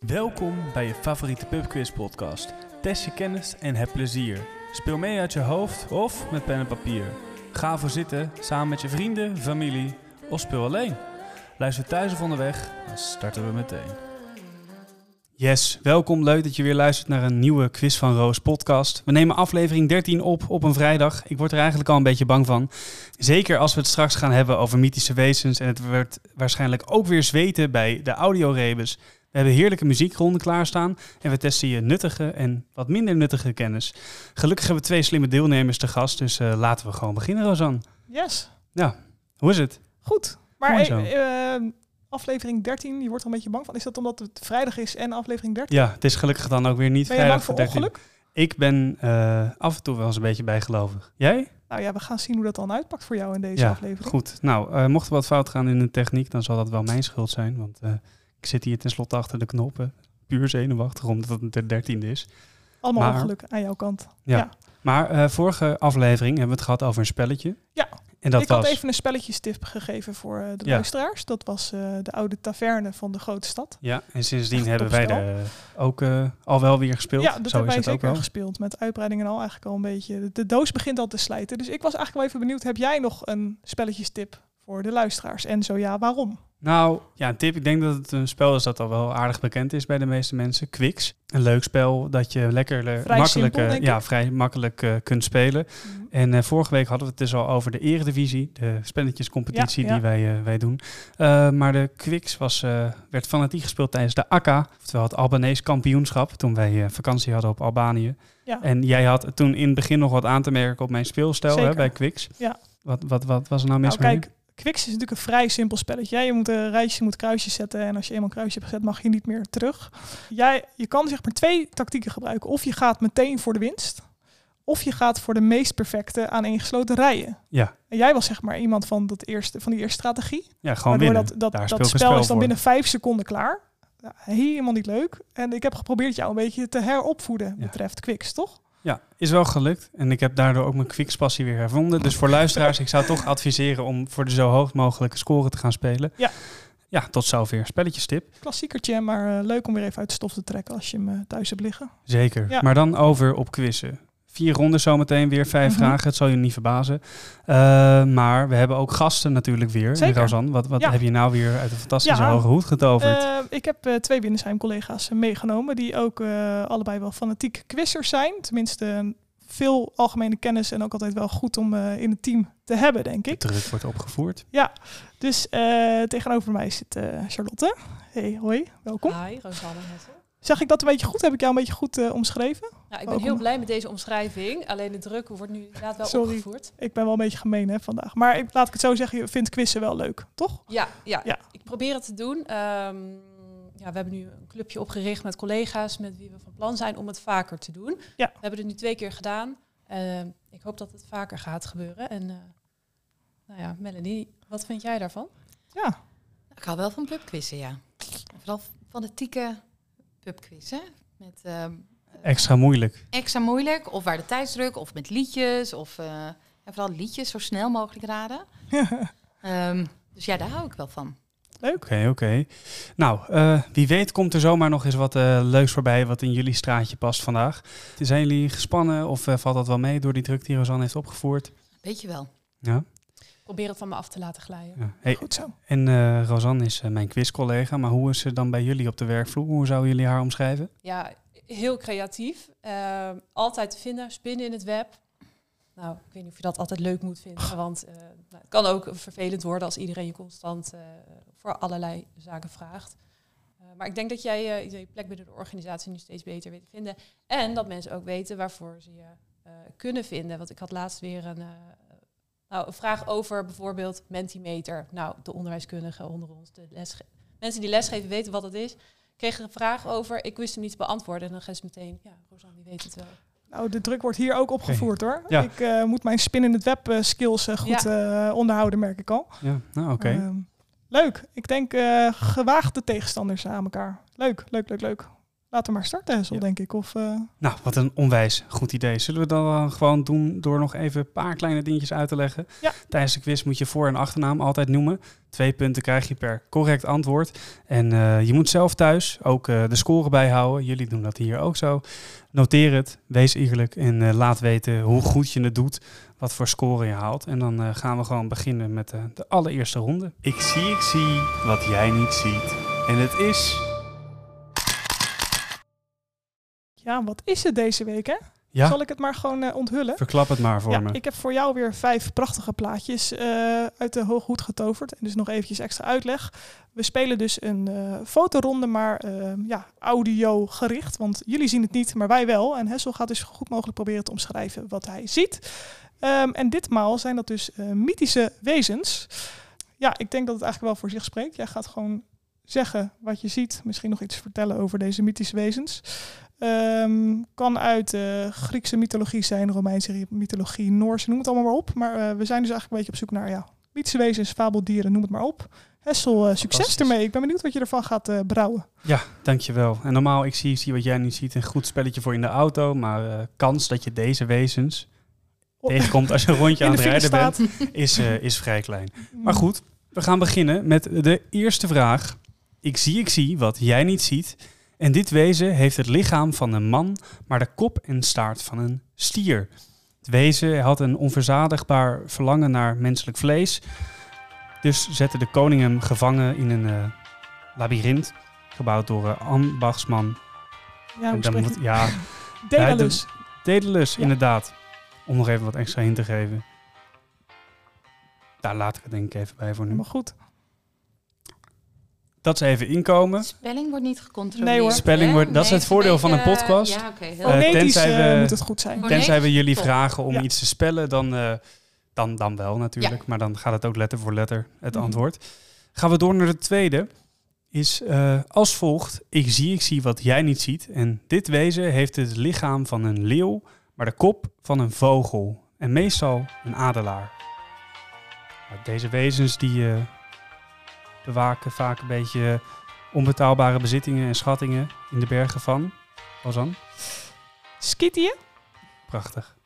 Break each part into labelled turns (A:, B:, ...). A: Welkom bij je favoriete pubquiz podcast. Test je kennis en heb plezier. Speel mee uit je hoofd of met pen en papier. Ga voor zitten samen met je vrienden, familie of speel alleen. Luister thuis of onderweg, dan starten we meteen. Yes, welkom. Leuk dat je weer luistert naar een nieuwe Quiz van Roos podcast. We nemen aflevering 13 op op een vrijdag. Ik word er eigenlijk al een beetje bang van. Zeker als we het straks gaan hebben over mythische wezens. En het wordt waarschijnlijk ook weer zweten bij de audiorebus. We hebben heerlijke muziekronden klaarstaan en we testen je nuttige en wat minder nuttige kennis. Gelukkig hebben we twee slimme deelnemers te gast, dus eh, laten we gewoon beginnen, Rosan.
B: Yes,
A: Hoe is het?
B: goed. Maar
A: Mooi zo.
B: eh, eh, aflevering 13, je wordt er een beetje bang van. Is dat omdat het vrijdag is en aflevering 13?
A: Ja, het is gelukkig dan ook weer niet
B: ben je bang
A: vrijdag
B: voor
A: 13.
B: ongeluk?
A: Ik ben eh, af en toe wel eens een beetje bijgelovig. Jij?
B: Nou ja, we gaan zien hoe dat dan uitpakt voor jou in deze
A: Ja,
B: aflevering.
A: Goed. Nou, eh, mocht er wat fout gaan in de techniek, dan zal dat wel mijn schuld zijn. Want eh, ik zit hier tenslotte achter de knoppen. Puur zenuwachtig, omdat het de dertiende is.
B: Allemaal
A: maar-
B: ongeluk aan jouw kant.
A: Maar eh, vorige aflevering hebben we het gehad over een spelletje.
B: Ja.
A: En dat
B: ik
A: was...
B: had even een spelletjestip gegeven voor eh, de
A: Ja.
B: luisteraars. Dat was eh, de oude taverne van de grote stad.
A: Ja, en sindsdien
B: Echt
A: hebben wij
B: topspel.
A: er ook eh, al wel weer gespeeld.
B: Ja, dat
A: Zo
B: hebben
A: is
B: wij
A: het ook
B: zeker
A: wel.
B: gespeeld. Met uitbreiding en al eigenlijk al een beetje. De, de doos begint al te slijten. Dus ik was eigenlijk wel even benieuwd, heb jij nog een spelletjestip voor de luisteraars? En zo ja, waarom?
A: Nou, ja, een tip. Ik denk dat het een spel is dat al wel aardig bekend is bij de meeste mensen. Quicks. Een leuk spel dat je lekker eh,
B: Vrij
A: makkelijk,
B: simpel,
A: eh,
B: denk
A: ja,
B: ik.
A: vrij makkelijk eh, kunt spelen. En eh, vorige week hadden we het dus al over de eredivisie. De spelletjescompetitie
B: Ja, ja.
A: die wij, eh, wij doen. Eh, maar de Quicks was, eh, werd fanatiek gespeeld tijdens de AKA. Oftewel het Albanese kampioenschap. Toen wij eh, vakantie hadden op Albanië.
B: Ja.
A: En jij had toen in het begin nog wat aan te merken op mijn speelstijl hè,
B: Zeker.
A: bij Quicks.
B: Ja.
A: Wat, wat, wat was er nou mis
B: Nou,
A: mee?
B: kijk, Quicks is natuurlijk een vrij simpel spelletje. Jij moet een rijtje, je moet kruisjes zetten. En als je eenmaal een kruisje hebt gezet, mag je niet meer terug. Jij, je kan zeg maar twee tactieken gebruiken. Of je gaat meteen voor de winst. Of je gaat voor de meest perfecte aaneengesloten rijen.
A: Ja.
B: En jij was zeg maar iemand van, dat eerste, van die eerste strategie.
A: Ja, gewoon winnen.
B: waardoor dat,
A: Daar
B: dat,
A: speel
B: dat
A: ik een
B: spel,
A: spel
B: is dan
A: voor.
B: binnen vijf seconden klaar. Ja, helemaal niet leuk. En ik heb geprobeerd jou een beetje te heropvoeden
A: Ja.
B: betreft Quicks, toch?
A: Ja, is wel gelukt. En ik heb daardoor ook mijn kwikspassie weer hervonden. Dus voor luisteraars, ik zou toch adviseren om voor de zo hoog mogelijke score te gaan spelen.
B: Ja.
A: Ja, tot zover. Spelletjestip.
B: Klassiekertje, maar eh, leuk om weer even uit de stof te trekken als je hem eh, thuis hebt liggen.
A: Zeker.
B: Ja.
A: Maar dan over op quizzen. Vier ronden zometeen, weer vijf
B: Mhm.
A: vragen. Het zal je niet verbazen. Eh, maar we hebben ook gasten natuurlijk weer.
B: Zeker.
A: Rosanne, wat, wat
B: Ja.
A: heb je nou weer uit een fantastische
B: Ja.
A: hoge hoed getoverd?
B: Eh, ik heb eh, twee Binnensheim-collega's eh, meegenomen die ook eh, allebei wel fanatiek quizzers zijn. Tenminste, een- veel algemene kennis en ook altijd wel goed om eh, in het team te hebben, denk
A: De
B: ik.
A: druk wordt opgevoerd.
B: Dus eh, tegenover mij zit eh, Charlotte. Hey, hoi, welkom.
C: Hi, Rosanne. Hessel.
B: Zeg ik dat een beetje goed? Heb ik jou een beetje goed eh, omschreven?
C: Nou, ik ben
B: Welkom.
C: heel blij met deze omschrijving. Alleen de druk wordt nu inderdaad wel
B: Sorry.
C: opgevoerd.
B: Ik ben wel een beetje gemeen hè, vandaag. Maar ik, laat ik het zo zeggen, je vindt quizzen wel leuk, toch?
C: Ja, ja,
B: Ja.
C: ik probeer het te doen. Ehm, ja, we hebben nu een clubje opgericht met collega's met wie we van plan zijn om het vaker te doen.
B: Ja.
C: We hebben het nu twee keer gedaan. Ehm, ik hoop dat het vaker gaat gebeuren. En eh, nou ja, Melanie, wat vind jij daarvan?
B: Ja,
D: Ik hou wel van pubquizzen, ja. En Vooral fanatieke pubquizzen. Met ehm,
A: Extra moeilijk.
D: extra moeilijk, of waar de tijdsdruk, of met liedjes. Of eh, en vooral liedjes zo snel mogelijk raden. Ehm, dus ja, daar hou ik wel van.
A: Oké, oké. Nou, eh, wie weet komt er zomaar nog eens wat eh, leuks voorbij wat in jullie straatje past vandaag. Zijn jullie gespannen of eh, valt dat wel mee door die druk die Rosanne heeft opgevoerd?
D: Weet je wel.
A: Ja.
C: Ik probeer het van me af te laten glijden.
A: ja. Hey,
B: goed zo.
A: en eh Rosanne is eh, mijn quizcollega, maar hoe is ze dan bij jullie op de werkvloer? Hoe zouden jullie haar omschrijven?
C: Ja, heel creatief. Ehm, altijd te vinden, spinnen in het web. Nou, ik weet niet of je dat altijd leuk moet vinden, want eh, nou, het kan ook vervelend worden als iedereen je constant eh, voor allerlei zaken vraagt. Eh, maar ik denk dat jij eh, je plek binnen de organisatie nu steeds beter weet te vinden. En dat mensen ook weten waarvoor ze je eh, kunnen vinden. Want ik had laatst weer een, eh, nou, een vraag over bijvoorbeeld Mentimeter. Nou, de onderwijskundigen onder ons, de lesge- mensen die lesgeven weten wat dat is kreeg er een vraag over. Ik wist hem niet te beantwoorden. En dan ging ze meteen, ja, Rosanne, die weet het wel.
B: Nou, de druk wordt hier ook opgevoerd hoor.
A: Ja.
B: Ik eh, moet mijn spin in het web eh, skills eh, goed eh, onderhouden, merk ik al.
A: Ja, nou oké.
B: Ehm, eh, leuk. Ik denk eh, gewaagde tegenstanders aan elkaar. Leuk, leuk, leuk, leuk. Laten we maar starten, Hessel,
A: Ja.
B: denk ik. Of, eh,
A: Nou, wat een onwijs goed idee. Zullen we dat dan eh, gewoon doen door nog even een paar kleine dingetjes uit te leggen?
B: Ja.
A: Tijdens de quiz moet je voor- en achternaam altijd noemen. Twee punten krijg je per correct antwoord. En eh, je moet zelf thuis ook eh, de score bijhouden. Jullie doen dat hier ook zo. Noteer het, wees eerlijk en eh, laat weten hoe goed je het doet. Wat voor score je haalt. En dan eh, gaan we gewoon beginnen met eh, de allereerste ronde. Ik zie, ik zie wat jij niet ziet. En het is...
B: ja, wat is het deze week, hè?
A: Ja,
B: Zal ik het maar gewoon eh, onthullen?
A: verklap het maar voor
B: ja,
A: me.
B: ik heb voor jou weer vijf prachtige plaatjes eh, uit de hooghoed getoverd. En dus nog eventjes extra uitleg. We spelen dus een eh, fotoronde, maar eh, ja, audio gericht. Want jullie zien het niet, maar wij wel. En Hessel gaat dus zo goed mogelijk proberen te omschrijven wat hij ziet. Ehm, en ditmaal zijn dat dus eh, mythische wezens. Ja, ik denk dat het eigenlijk wel voor zich spreekt. Jij gaat gewoon zeggen wat je ziet. Misschien nog iets vertellen over deze mythische wezens. Ehm, kan uit eh, Griekse mythologie zijn, Romeinse mythologie, Noorse, noem het allemaal maar op. Maar eh, we zijn dus eigenlijk een beetje op zoek naar ja, mythische wezens, fabeldieren, noem het maar op. Hessel, eh, succes
A: Fantastisch.
B: ermee. Ik ben benieuwd wat je ervan gaat eh, brouwen.
A: Ja, dankjewel. En normaal, ik zie, zie wat jij nu ziet, een goed spelletje voor in de auto. Maar eh, kans dat je deze wezens
B: Oh.
A: tegenkomt als je een rondje aan
B: In
A: het
B: de Mm. file
A: rijden bent,
B: staat.
A: is, eh, is vrij klein. Maar goed, we gaan beginnen met de eerste vraag. Ik zie, ik zie wat jij niet ziet. En dit wezen heeft het lichaam van een man, maar de kop en staart van een stier. Het wezen had een onverzadigbaar verlangen naar menselijk vlees. Dus zette de koning hem gevangen in een eh labyrint, gebouwd door eh, ambachtsman.
B: Ja,
A: En
B: hoe
A: dan
B: spreek
A: moet-
B: je?
A: ja,
B: Nou,
A: dus-
B: Daedalus.
A: Daedalus,
B: Ja.
A: inderdaad. Om nog even wat extra hint te geven. Daar laat ik het denk ik even bij voor nu.
B: Maar goed.
A: Dat ze even inkomen.
D: Spelling wordt niet gecontroleerd.
B: Nee hoor.
A: Spelling
D: hè?
A: wordt- dat is
D: Nee,
A: het voordeel
D: beetje,
A: van een podcast.
D: eh, Ja, oké. heel-
A: Eh,
B: Fonetisch
A: tenzij
B: eh,
A: we-
B: moet het goed zijn.
D: Fonetisch?
A: Tenzij we jullie
D: Top.
A: vragen om
B: Ja.
A: iets te spellen, dan, eh, dan, dan wel natuurlijk. Maar dan gaat het ook letter voor letter het
B: Mhm.
A: antwoord. Gaan we door naar de tweede. Is eh, als volgt. Ik zie, ik zie wat jij niet ziet. En dit wezen heeft het lichaam van een leeuw, maar de kop van een vogel. En meestal een adelaar. Nou, deze wezens die eh, bewaken vaak een beetje onbetaalbare bezittingen en schattingen in de bergen van. Ozan,
B: Skittië?
A: prachtig.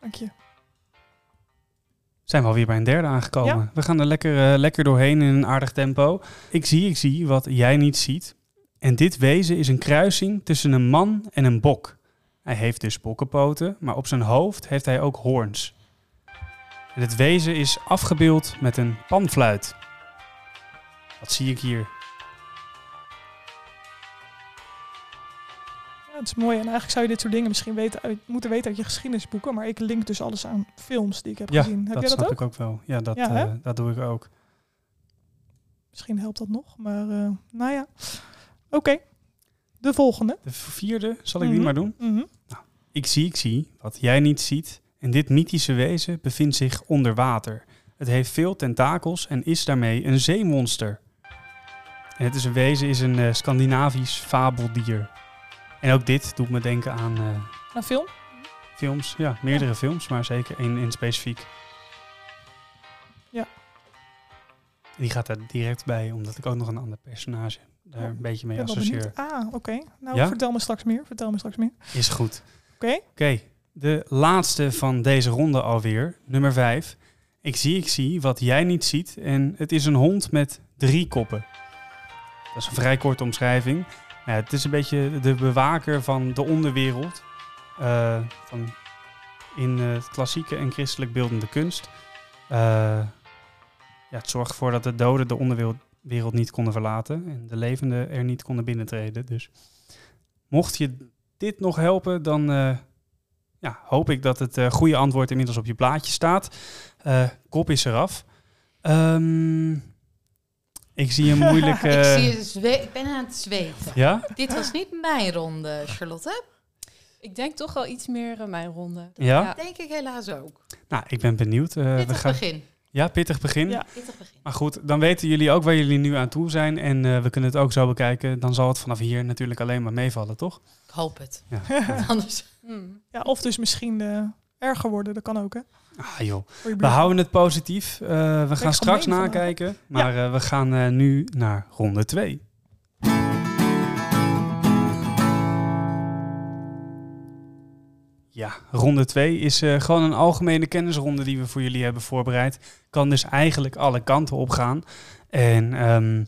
B: Dank je.
A: zijn we alweer bij een derde aangekomen.
B: Ja.
A: We gaan er lekker, eh, lekker doorheen in een aardig tempo. Ik zie, ik zie wat jij niet ziet. En dit wezen is een kruising tussen een man en een bok. Hij heeft dus bokkenpoten, maar op zijn hoofd heeft hij ook hoorns. En het wezen is afgebeeld met een panfluit. Wat zie ik hier?
B: Ja, het is mooi. En eigenlijk zou je dit soort dingen misschien weten uit, moeten weten uit je geschiedenisboeken. Maar ik link dus alles aan films die ik heb
A: Ja,
B: gezien. Heb
A: dat
B: jij dat
A: snap
B: ook?
A: ik ook wel. Ja, dat,
B: Ja, hè?
A: eh, dat doe ik ook.
B: Misschien helpt dat nog. Maar eh, nou ja. Oké. De volgende.
A: De vierde, zal ik
B: Mhm.
A: die maar doen?
B: Mhm.
A: Ik zie, ik zie wat jij niet ziet. En dit mythische wezen bevindt zich onder water. Het heeft veel tentakels en is daarmee een zeemonster. En het is een wezen, is een eh, Scandinavisch fabeldier. En ook dit doet me denken aan eh,
B: Een film?
A: films. Ja, meerdere films, maar zeker één in specifiek.
B: Ja.
A: Die gaat er direct bij, omdat ik ook nog een ander personage daar
B: Oh,
A: een beetje mee
B: ik ben wel
A: associeer.
B: benieuwd. Ah, oké. Nou,
A: Ja?
B: vertel me straks meer. Vertel me straks meer.
A: Is goed.
B: Oké.
A: Oké, de laatste van deze ronde alweer, nummer 5. Ik zie, ik zie wat jij niet ziet en het is een hond met drie koppen. Dat is een vrij korte omschrijving. Ja, het is een beetje de bewaker van de onderwereld. eh, van in eh, klassieke en christelijk beeldende kunst. Eh, ja, het zorgt ervoor dat de doden de onderwereld wereld niet konden verlaten en de levenden er niet konden binnentreden. Dus mocht je dit nog helpen, dan eh, ja, hoop ik dat het eh, goede antwoord inmiddels op je plaatje staat. Eh, kop is eraf. Ehm, ik zie een eh, moeilijke.
D: Ik, zie je zwe- ik ben aan het zweten.
A: Ja?
D: Dit was niet mijn ronde, Charlotte.
C: Ik denk toch wel iets meer eh, mijn ronde.
A: Ja?
D: Dat denk ik helaas ook.
A: Nou, ik ben benieuwd. Eh,
D: Pittig
A: we gaan...
D: begin.
A: Ja, pittig begin.
B: Ja.
D: Pittig begin.
A: Maar goed, dan weten jullie ook waar jullie nu aan toe zijn. En eh, we kunnen het ook zo bekijken. Dan zal het vanaf hier natuurlijk alleen maar meevallen, toch?
D: Ik hoop het.
A: Ja.
D: Want Anders.
C: Hmm.
B: Ja, of dus misschien eh, erger worden. Dat kan ook, hè?
A: Ah joh,
B: Voor je
A: we
B: buur.
A: houden het positief. Eh, we gaan
B: gemeen
A: straks
B: vandaag.
A: nakijken. Maar eh, we gaan eh, nu naar ronde 2. Ja, ronde 2 is eh, gewoon een algemene kennisronde die we voor jullie hebben voorbereid. Kan dus eigenlijk alle kanten op gaan. En ehm,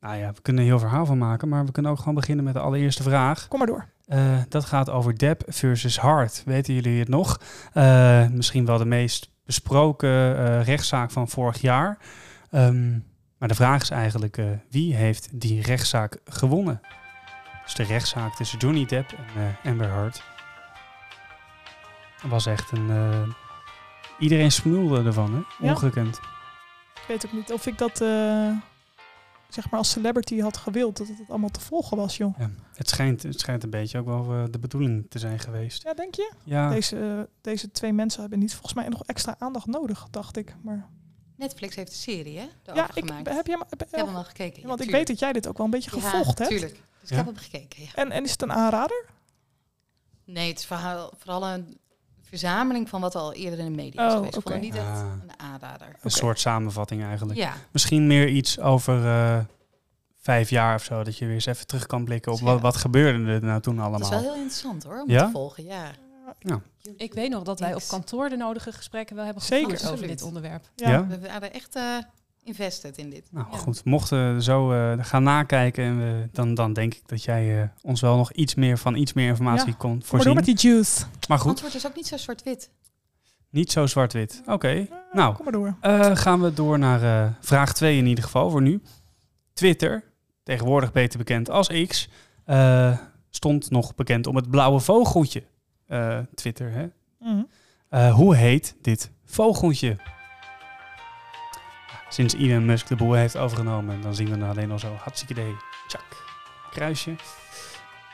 A: nou ja, we kunnen er heel verhaal van maken, maar we kunnen ook gewoon beginnen met de allereerste vraag.
B: Kom maar door.
A: Eh, dat gaat over Deb versus Hart. Weten jullie het nog? Eh, misschien wel de meest besproken eh, rechtszaak van vorig jaar. Ehm, maar de vraag is eigenlijk, eh, wie heeft die rechtszaak gewonnen? Dus de rechtszaak tussen Johnny Depp en eh, Amber Hart. Was echt een... eh, iedereen smoelde ervan, hè?
B: Ja.
A: Ongekend.
B: Ik weet ook niet of ik dat eh, zeg maar als celebrity had gewild, dat het allemaal te volgen was, joh.
A: Ja. Het, schijnt, het schijnt een beetje ook wel eh, de bedoeling te zijn geweest.
B: Ja, denk je?
A: Ja,
B: Deze, deze twee mensen hebben niet volgens mij nog extra aandacht nodig, dacht ik. Maar
D: Netflix heeft een serie, hè?
B: ja,
D: Daarover
B: ik,
D: gemaakt.
B: heb je hem, heb-
D: Ik heb hem al gekeken. ja,
B: want ik weet
D: tuurlijk.
B: dat jij dit ook wel een beetje
D: Ja,
B: gevolgd hebt.
D: Tuurlijk. Dus
A: Ja.
D: ik heb hem gekeken, ja.
B: En, en is het een aanrader?
D: Nee, het is verhaal- vooral een verzameling van wat al eerder in de media is
B: Oh,
D: geweest. Ik vond het
A: oké.
D: niet echt
A: Ah.
D: een aanrader.
A: een soort samenvatting eigenlijk.
D: Ja,
A: misschien meer iets over eh, vijf jaar of zo. Dat je weer eens even terug kan blikken op
D: Ja.
A: wat, wat gebeurde er nou toen
D: dat is wel
A: allemaal.
D: heel interessant hoor, om
A: Ja?
D: te volgen. Ja,
C: Ik weet nog dat wij op
D: Thanks.
C: kantoor de nodige gesprekken wel hebben
B: Zeker.
C: gevoerd over
D: Absoluut.
C: dit onderwerp.
A: Ja?
D: we waren echt eh, invested in dit.
A: Nou
D: Ja.
A: goed, mochten we zo eh, gaan nakijken, en we- dan, dan denk ik dat jij eh, ons wel nog iets meer van iets meer informatie
B: Ja.
A: kon
B: Kom maar door
A: voorzien.
B: met
A: Maar,
B: die juice.
D: Het
A: goed,
D: antwoord is ook niet zo zwart-wit.
A: niet zo zwart-wit. Oké,
B: Eh,
A: nou.
B: Kom maar door.
A: eh, gaan we door naar eh, vraag 2 in ieder geval voor nu. Twitter, tegenwoordig beter bekend als X, eh, stond nog bekend om het blauwe vogeltje. Eh, Twitter, hè?
B: Mhm.
A: Eh, hoe heet dit vogeltje? Sinds Elon Musk de boel heeft overgenomen, dan zien we er alleen al zo hartstikke idee. Tjak, kruisje.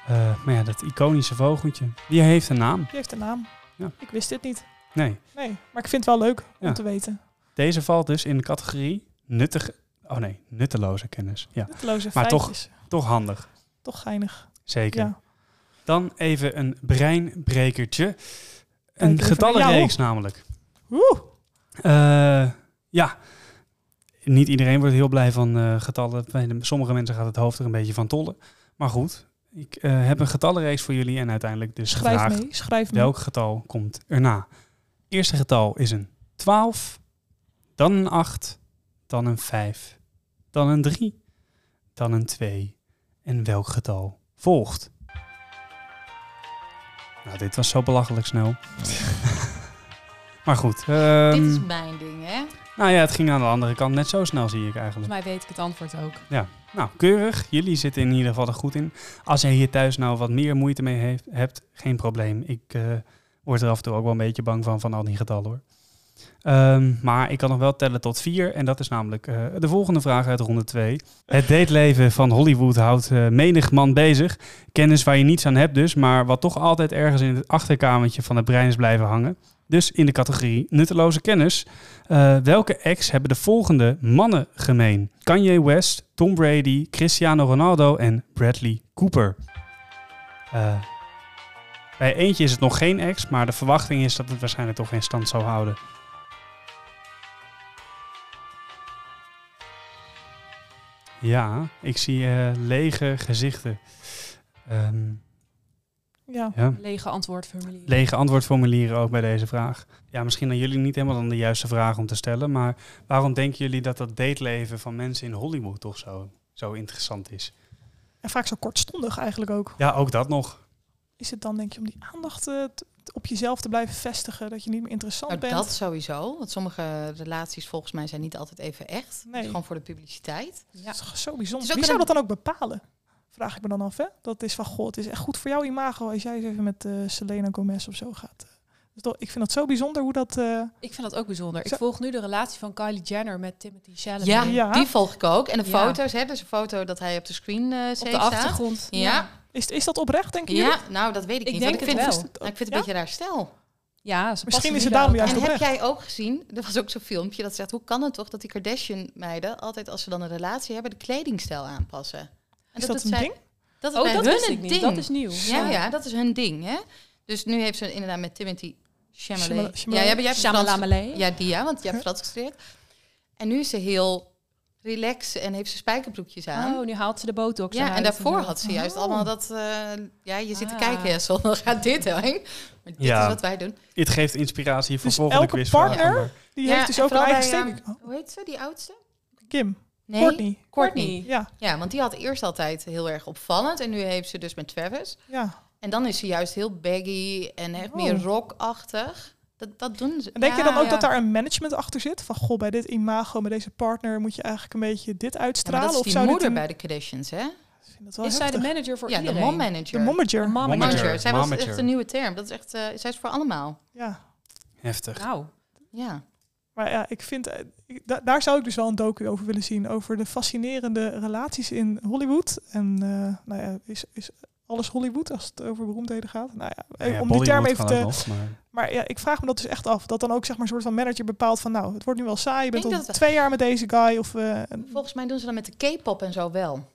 A: Eh, maar ja, dat iconische vogeltje, die heeft een naam.
B: Die heeft een naam.
A: Ja.
B: Ik wist dit niet.
A: Nee,
B: Nee, maar ik vind het wel leuk om
A: Ja.
B: te weten.
A: deze valt dus in de categorie nuttige... Oh nee, nutteloze kennis. Ja,
B: Nutteloze
A: Maar toch-
B: feitjes. Toch,
A: toch handig.
B: toch geinig.
A: Zeker.
B: Ja.
A: Dan even een breinbrekertje.
B: even
A: Een
B: naar
A: getallenreeks namelijk.
B: Oeh.
A: Eh, ja. Niet iedereen wordt heel blij van eh, getallen. Bij de- sommige mensen gaat het hoofd er een beetje van tollen. Maar goed, ik eh, heb een getallenreeks voor jullie en uiteindelijk dus
B: Schrijf
A: gevraagd
B: mee. Schrijf mee.
A: welk getal komt erna. Eerste getal is een 12, dan een 8, dan een 5, dan een 3, dan een 2. En welk getal volgt? Nou, dit was zo belachelijk snel. maar goed. ehm,
D: dit is mijn ding, hè?
A: nou ja, het ging aan de andere kant net zo snel, zie ik eigenlijk.
C: Volgens mij weet ik het antwoord ook.
A: Nou, keurig. Jullie zitten in ieder geval er goed in. Als jij hier thuis nou wat meer moeite mee heeft, hebt, geen probleem. Ik eh, word er af en toe ook wel een beetje bang van, van al die getallen hoor. Ehm, maar ik kan nog wel tellen tot vier. En dat is namelijk eh, de volgende vraag uit ronde 2. Het dateleven van Hollywood houdt eh, menig man bezig. Kennis waar je niets aan hebt dus, maar wat toch altijd ergens in het achterkamertje van het brein is blijven hangen. Dus in de categorie nutteloze kennis eh, welke ex hebben de volgende mannen gemeen? Kanye West, Tom Brady, Cristiano Ronaldo en Bradley Cooper. Eh, bij eentje is het nog geen ex, maar de verwachting is dat het waarschijnlijk toch geen stand zou houden. Ja, ik zie eh, lege gezichten. Ehm,
B: Ja.
A: ja
C: Lege antwoordformulier.
A: lege antwoordformulieren ook bij deze vraag. Ja, misschien aan jullie niet helemaal dan de juiste vraag om te stellen, maar waarom denken jullie dat dat dateleven van mensen in Hollywood toch zo, zo interessant is?
B: En vaak zo kortstondig eigenlijk ook.
A: Ja, ook dat nog.
B: Is het dan denk je om die aandacht eh, t- t- op jezelf te blijven vestigen? Dat je niet meer interessant
D: Nou,
B: bent?
D: dat sowieso. Want sommige relaties volgens mij zijn niet altijd even echt.
B: Nee.
D: Dus gewoon voor de publiciteit.
C: Ja.
B: Dat is toch zo
D: Het
B: bijzonder.
D: is ook
B: Wie zou
D: een-
B: dat dan ook bepalen? Vraag ik me dan af, hè? Dat is van, god, het is echt goed voor jouw imago als jij eens even met eh, Selena Gomez of zo gaat. Dus dat, ik vind dat zo bijzonder hoe dat... eh,
C: Ik vind dat ook bijzonder. Ik
B: Zo-
C: volg nu de relatie van Kylie Jenner met Timothy Chalamet.
D: Ja,
B: Ja.
D: die volg ik ook. En
C: Ja.
D: de foto's, hè? Dus een foto dat hij op de screen eh
C: Op de
D: staat.
C: achtergrond.
D: Ja.
B: is, is dat oprecht, denk je?
D: ja, nou dat weet ik,
C: Ik
D: niet.
C: denk
D: want ik
C: het
D: vind
C: wel.
D: nou, ik vind het
B: Ja?
D: een beetje raar stel.
C: Ja, ze
B: Misschien
C: passen
B: is
C: nu
B: het daarom
C: daar
B: juist
D: en
C: elkaar-
D: heb
B: oprecht.
D: jij ook gezien, er was ook zo'n filmpje dat zegt, hoe kan het toch dat die Kardashian-meiden altijd als ze dan een relatie hebben, de kledingstijl aanpassen? En
B: Is dat,
D: doet
B: een
D: zij-
B: ding?
D: Dat is
C: Oh,
D: bij
C: dat
D: hun
C: wist
D: een
C: ik niet.
D: ding.
C: Dat is nieuw.
D: ja, ja, dat is hun ding, hè? Dus nu heeft ze inderdaad met Timothy
B: Shamala-
D: Chalamet.
B: Shamala-
D: Ja, jij, jij hebt Frans-
C: Shamalamalé.
D: Ja, die ja, want je hebt Frans gestudeerd. En nu is ze heel relax en heeft ze spijkerbroekjes aan.
C: Oh, nu haalt ze de botox
D: ja,
C: eruit
D: en daarvoor
C: zo.
D: had ze juist allemaal dat... eh, ja, je zit
C: Ah.
D: te kijken, Jessel, dan gaat dit heen. Maar dit
A: Ja.
D: is wat wij doen.
A: Dit geeft inspiratie voor
B: Dus
A: volgende
B: elke
A: quizvragen,
B: partner-
A: maar-
B: Die
D: Ja,
B: heeft dus
D: en
B: ook een
D: vooral
B: eigen
D: bij,
B: stemming.
D: Hoe heet ze, die oudste?
B: Kim,
D: Nee,
B: Courtney.
D: Courtney.
B: Ja,
D: Ja, want die had eerst altijd heel erg opvallend. En nu heeft ze dus met Travis.
B: ja.
D: En dan is ze juist heel baggy en echt
B: Oh.
D: meer rockachtig. Dat, dat doen ze.
B: En denk je dan
D: Ja,
B: ook
D: ja.
B: dat daar een management achter zit? Van, goh, bij dit imago, met deze partner moet je eigenlijk een beetje dit
D: Ja, maar
B: uitstralen?
D: dat is
B: of
D: die
B: zou
D: moeder
B: dit een...
D: bij de Kardashians, hè?
B: Ik vind dat wel
C: Is zij de
B: heftig.
C: manager voor
D: ja, de
C: iedereen?
D: mom manager.
B: De momager.
C: De mom
A: Momager.
C: manager.
D: Zij was
A: Momager.
D: echt een nieuwe term. Dat is echt, eh, zij is voor allemaal.
B: Ja.
A: Heftig.
C: Nou,
D: Ja.
B: Maar ja, ik vind, eh, ik- da- daar zou ik dus wel een docu over willen zien. Over de fascinerende relaties in Hollywood. En eh, nou ja, is, is alles Hollywood als het over beroemdheden gaat? Nou ja, eh,
A: Ja,
B: om die
A: Bollywood
B: term even
A: kan
B: te...
A: ook nog, maar-
B: Maar ja, ik vraag me dat dus echt af. Dat dan ook zeg maar, een soort van manager bepaalt van... nou, het wordt nu wel saai, je bent
D: denk
B: al
D: dat het-
B: twee jaar met deze guy. Of, eh, en
D: Volgens mij doen ze dat met de K-pop en zo wel.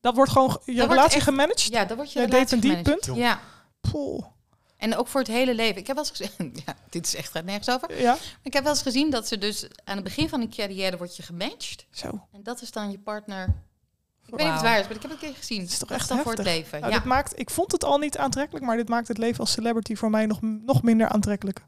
B: dat wordt gewoon ge- je
D: wordt
B: relatie
D: echt-
B: gemanaged.
D: Ja, dat wordt je
B: Jij deed
D: relatie
B: een diep
D: gemanaged.
B: punt.
D: Ja.
B: Poeh.
D: En ook voor het hele leven. Ik heb wel eens gezien... Ja, dit is echt gaat nergens over.
B: Ja,
D: Ik heb wel eens gezien dat ze dus... aan het begin van een carrière wordt je gematcht.
B: zo.
D: En dat is dan je partner. Ik weet niet of het
C: Wauw.
D: waar is, maar ik heb het een keer gezien.
B: is toch
D: Dat
B: echt
D: dan voor het leven.
B: Nou,
D: ja.
B: dit maakt, ik vond het al niet aantrekkelijk, maar dit maakt het leven als celebrity voor mij nog, nog minder aantrekkelijk.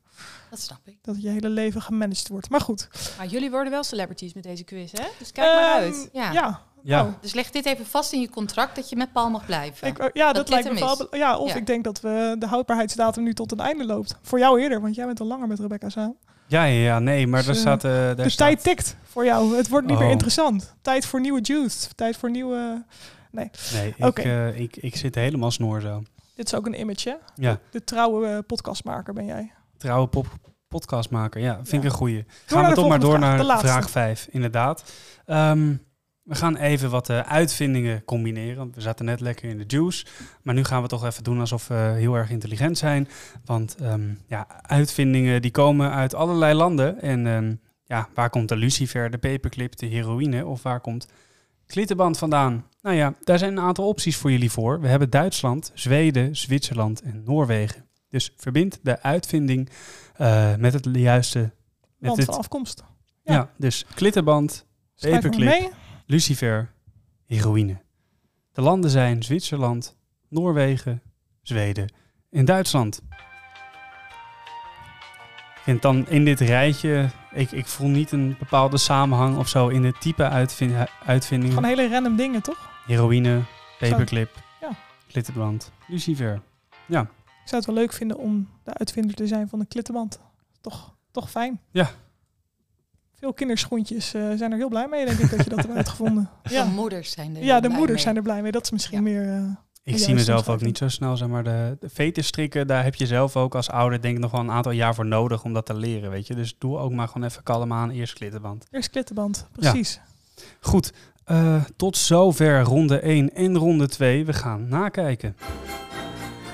D: Dat snap ik.
B: Dat je hele leven gemanaged wordt. Maar goed.
C: Maar jullie worden wel celebrities met deze quiz, hè? Dus kijk maar
B: Ehm,
C: uit.
D: Ja.
B: Ja,
A: Ja,
B: Oh.
D: Dus leg dit even vast in je contract dat je met Paul mag blijven.
B: ik, eh, ja dat,
D: dit
B: lijkt me
D: hem is.
B: wel... be- Ja, of
D: Ja.
B: ik denk dat we de houdbaarheidsdatum nu tot een einde loopt. Voor jou eerder, want jij bent al langer met Rebecca samen.
A: ja, ja, ja, nee, maar
B: Dus,
A: daar
B: eh,
A: staat... eh, daar
B: de
A: staat-
B: tijd tikt voor jou. Het wordt niet meer
A: Oh.
B: interessant. Tijd voor nieuwe juice. Tijd voor nieuwe...
A: Nee, ik,
B: Oké.
A: eh, ik, ik zit helemaal snoor zo.
B: Dit is ook een image, hè?
A: Ja,
B: De trouwe eh, podcastmaker ben jij.
A: trouwe pop podcastmaker. Ja, vind ik
B: Ja.
A: een goeie.
B: Door
A: gaan
B: naar
A: we
B: de
A: toch maar door
B: volgende vraag, de
A: naar
B: laatste.
A: vraag 5, inderdaad. Ehm, we gaan even wat eh, uitvindingen combineren. want We zaten net lekker in de juice. Maar nu gaan we toch even doen alsof we heel erg intelligent zijn. Want ehm, ja, uitvindingen die komen uit allerlei landen. En ehm, ja, waar komt de lucifer, de paperclip, de heroïne of waar komt klittenband vandaan? Nou ja, daar zijn een aantal opties voor jullie voor. We hebben Duitsland, Zweden, Zwitserland en Noorwegen. Dus verbind de uitvinding eh, met het juiste... Met
B: Land
A: het
B: van afkomst.
A: ja.
B: Ja.
A: dus klittenband,
B: Schrijf maar
A: Paperclip.
B: mee.
A: lucifer, heroïne. De landen zijn Zwitserland, Noorwegen, Zweden en Duitsland. En dan in dit rijtje, ik, ik voel niet een bepaalde samenhang of zo in het type uitvin- uitvindingen.
B: Gewoon hele random dingen, toch?
A: Heroïne, paperclip,
B: Ja.
A: klittenband, lucifer.
B: Ik zou het wel leuk vinden om de uitvinder te zijn van een klittenband. Toch, toch fijn.
A: Ja.
B: Veel kinderschoentjes eh, zijn er heel blij mee, denk ik, dat je dat hebt uitgevonden.
D: De
B: Ja,
D: moeders zijn er.
B: ja de
D: blij
B: moeders
D: mee.
B: zijn er blij mee. Dat is misschien
D: Ja.
B: meer... eh,
A: Ik zie
B: Ja, dat is
A: mezelf ook
B: omschrijving.
A: niet zo snel, zeg maar. De, de veters strikken, daar heb je zelf ook als ouder denk ik nog wel een aantal jaar voor nodig om dat te leren, weet je. Dus doe ook maar gewoon even kalm aan, eerst klittenband.
B: eerst klittenband, precies.
A: Goed, eh, tot zover ronde 1 en ronde 2. We gaan nakijken.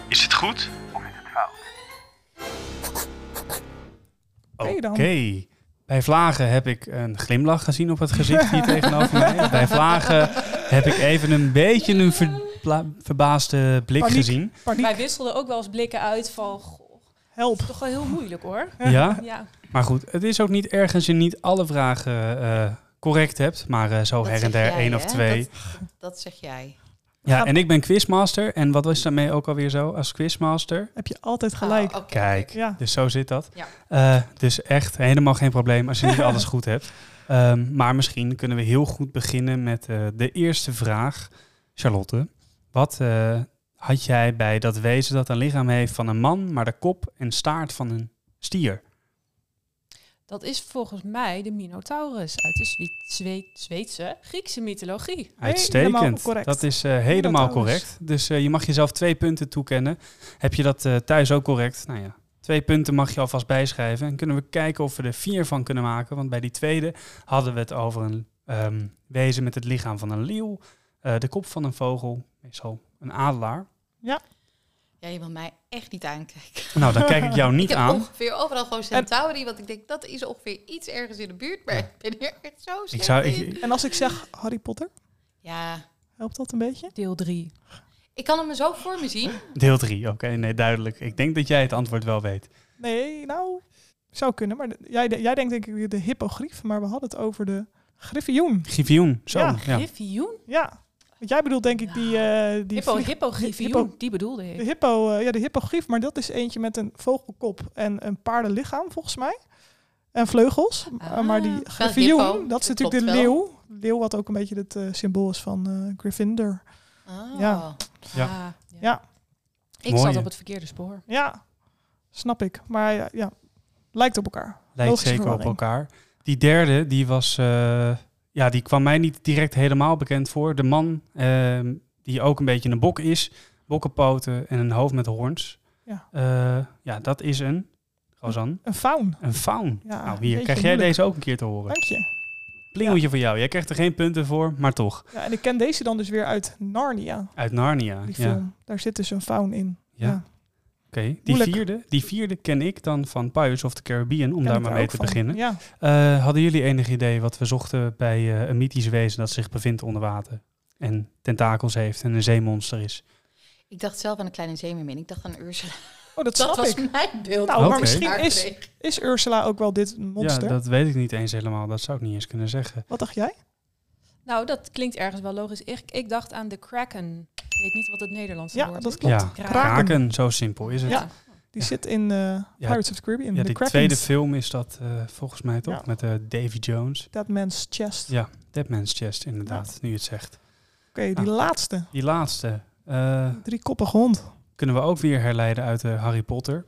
A: Is het goed of is het fout?
B: Oké
A: Oké.
B: dan.
A: Bij vlagen heb ik een glimlach gezien op het gezicht hier tegenover mij. Bij vlagen heb ik even een beetje een verbla- verbaasde blik
B: Paniek.
A: gezien.
B: Paniek,
C: Wij wisselden ook wel eens blikken uit van... Goh,
B: help.
C: toch wel heel moeilijk, hoor.
A: Ja,
C: Ja,
A: maar goed, het is ook niet erg als je niet alle vragen eh, correct hebt, maar eh, zo
D: Dat
A: her en
D: zeg
A: der
D: jij,
A: één
D: hè?
A: of twee.
D: Dat, dat zeg jij.
A: Ja,
B: Gaat-
A: en ik ben quizmaster en wat was daarmee ook alweer zo als quizmaster?
B: Heb je altijd gelijk.
D: Ah, oké,
A: Kijk,
D: oké.
B: Ja,
A: dus zo zit dat.
D: Ja.
A: Eh, dus echt helemaal geen probleem als je niet alles goed hebt. Ehm, maar misschien kunnen we heel goed beginnen met eh, de eerste vraag. Charlotte, wat eh, had jij bij dat wezen dat een lichaam heeft van een man, maar de kop en staart van een stier?
C: dat is volgens mij de Minotaurus uit de Zwe- Zwe- Zweedse Griekse mythologie.
B: Helemaal
A: Uitstekend.
B: correct.
A: Dat is eh, helemaal
B: Minotaurus.
A: correct. Dus eh, je mag jezelf twee punten toekennen. Heb je dat eh, thuis ook correct? Nou ja, twee punten mag je alvast bijschrijven. En kunnen we kijken of we er vier van kunnen maken. Want bij die tweede hadden we het over een ehm, wezen met het lichaam van een leeuw. eh, de kop van een vogel, meestal een adelaar.
D: Ja, je wil mij echt niet aankijken.
A: Nou, dan kijk ik jou
D: Ik
A: niet
D: heb
A: aan.
D: ongeveer overal gewoon Centauri, want ik denk dat is ongeveer iets ergens in de buurt, maar
A: Ja.
D: ik ben hier echt zo slecht
A: Ik zou,
D: in.
A: ik,
B: En als ik zeg Harry Potter,
D: Ja,
B: helpt dat een beetje?
C: Deel 3.
D: ik kan hem zo voor me zien.
A: deel drie, oké, nee, duidelijk. Ik denk dat jij het antwoord wel weet.
B: Nee, nou, zou kunnen. Maar de- jij, jij denkt denk ik weer de hippogrief, maar we hadden het over de Griffioen.
A: Griffioen, zo.
B: Ja.
A: Ja.
C: Griffioen?
B: Ja. Want jij bedoelt denk ik die... eh die
C: Hippo,
B: vlieg-
C: hippo, griffioen.
B: Hippo.
C: Die bedoelde
B: de
C: ik.
B: hippo, eh, ja, de hippogrief. Maar dat is eentje met een vogelkop en een paardenlichaam volgens mij. En vleugels.
C: Ah,
B: maar die
C: wel
B: griffioen,
D: hippo.
B: dat is
D: Dat
B: natuurlijk de
D: klopt wel.
B: leeuw. Leeuw wat ook een beetje het eh, symbool is van eh Gryffindor.
D: Ah.
B: Ja.
A: Ja.
C: Ah,
B: Ja.
C: Ik
A: Mooi,
C: zat
A: hè?
C: op het verkeerde spoor.
B: Ja, snap ik. Maar ja, ja lijkt op elkaar.
A: Lijkt
B: Logische
A: zeker op
B: verwarring.
A: elkaar. Die derde, die was... eh, ja, die kwam mij niet direct helemaal bekend voor. De man ehm, die ook een beetje een bok is. Bokkenpoten en een hoofd met hoorns.
B: Ja.
A: Eh, ja dat is een... Gozan.
B: Een faun.
A: Een faun.
B: Ja,
A: nou, hier
B: jeetje,
A: krijg jij
B: moeilijk.
A: deze ook een keer te horen.
B: Dank je.
A: Plingeltje voor jou. Jij krijgt er geen punten voor, maar toch.
B: Ja, en ik ken deze dan dus weer uit Narnia,
A: Uit Narnia.
B: die
A: Ja.
B: film. Daar zit dus een faun in.
A: Ja.
B: Ja.
A: Oké, die,
B: Moeilijk.
A: vierde, die vierde ken ik dan van Pirates of the Caribbean, om
B: Ken
A: daar
B: ik
A: maar
B: daar
A: mee
B: ook
A: te
B: van.
A: beginnen.
B: Ja. Oh,
A: Eh, hadden jullie enig idee wat we zochten bij eh, een mythisch wezen dat zich bevindt onder water? En tentakels heeft en een zeemonster is.
D: Ik dacht zelf aan een kleine zeemermin. Ik dacht aan Ursula.
B: Oh, dat
D: Dat
B: snap
D: was
B: ik.
D: mijn beeld.
B: Nou,
D: wat
A: maar
D: ik
A: misschien
D: daar
B: is-
D: kreeg.
B: Is Ursula ook wel dit monster?
A: Ja, dat weet ik niet eens helemaal. Dat zou ik niet eens kunnen zeggen.
B: Wat dacht jij?
C: Nou, dat klinkt ergens wel logisch. Ik, ik dacht aan de kraken. Ik weet niet wat het Nederlandse
B: Ja,
C: woord
B: dat
C: is.
B: klopt.
A: Ja,
C: Kraken.
A: kraken. zo simpel is het.
B: Ja. Die
A: Ja.
B: zit in eh, Pirates of the Caribbean.
A: Ja,
B: de
A: die
B: Krakens.
A: tweede film is dat eh, volgens mij toch?
B: Ja.
A: Met eh, Davy Jones.
B: That Man's Chest.
A: Ja. Dead Man's Chest, inderdaad, nu je het zegt.
B: Oké, die
A: Ja.
B: laatste.
A: Die laatste eh,
B: Driekoppige hond.
A: kunnen we ook weer herleiden uit eh, Harry Potter.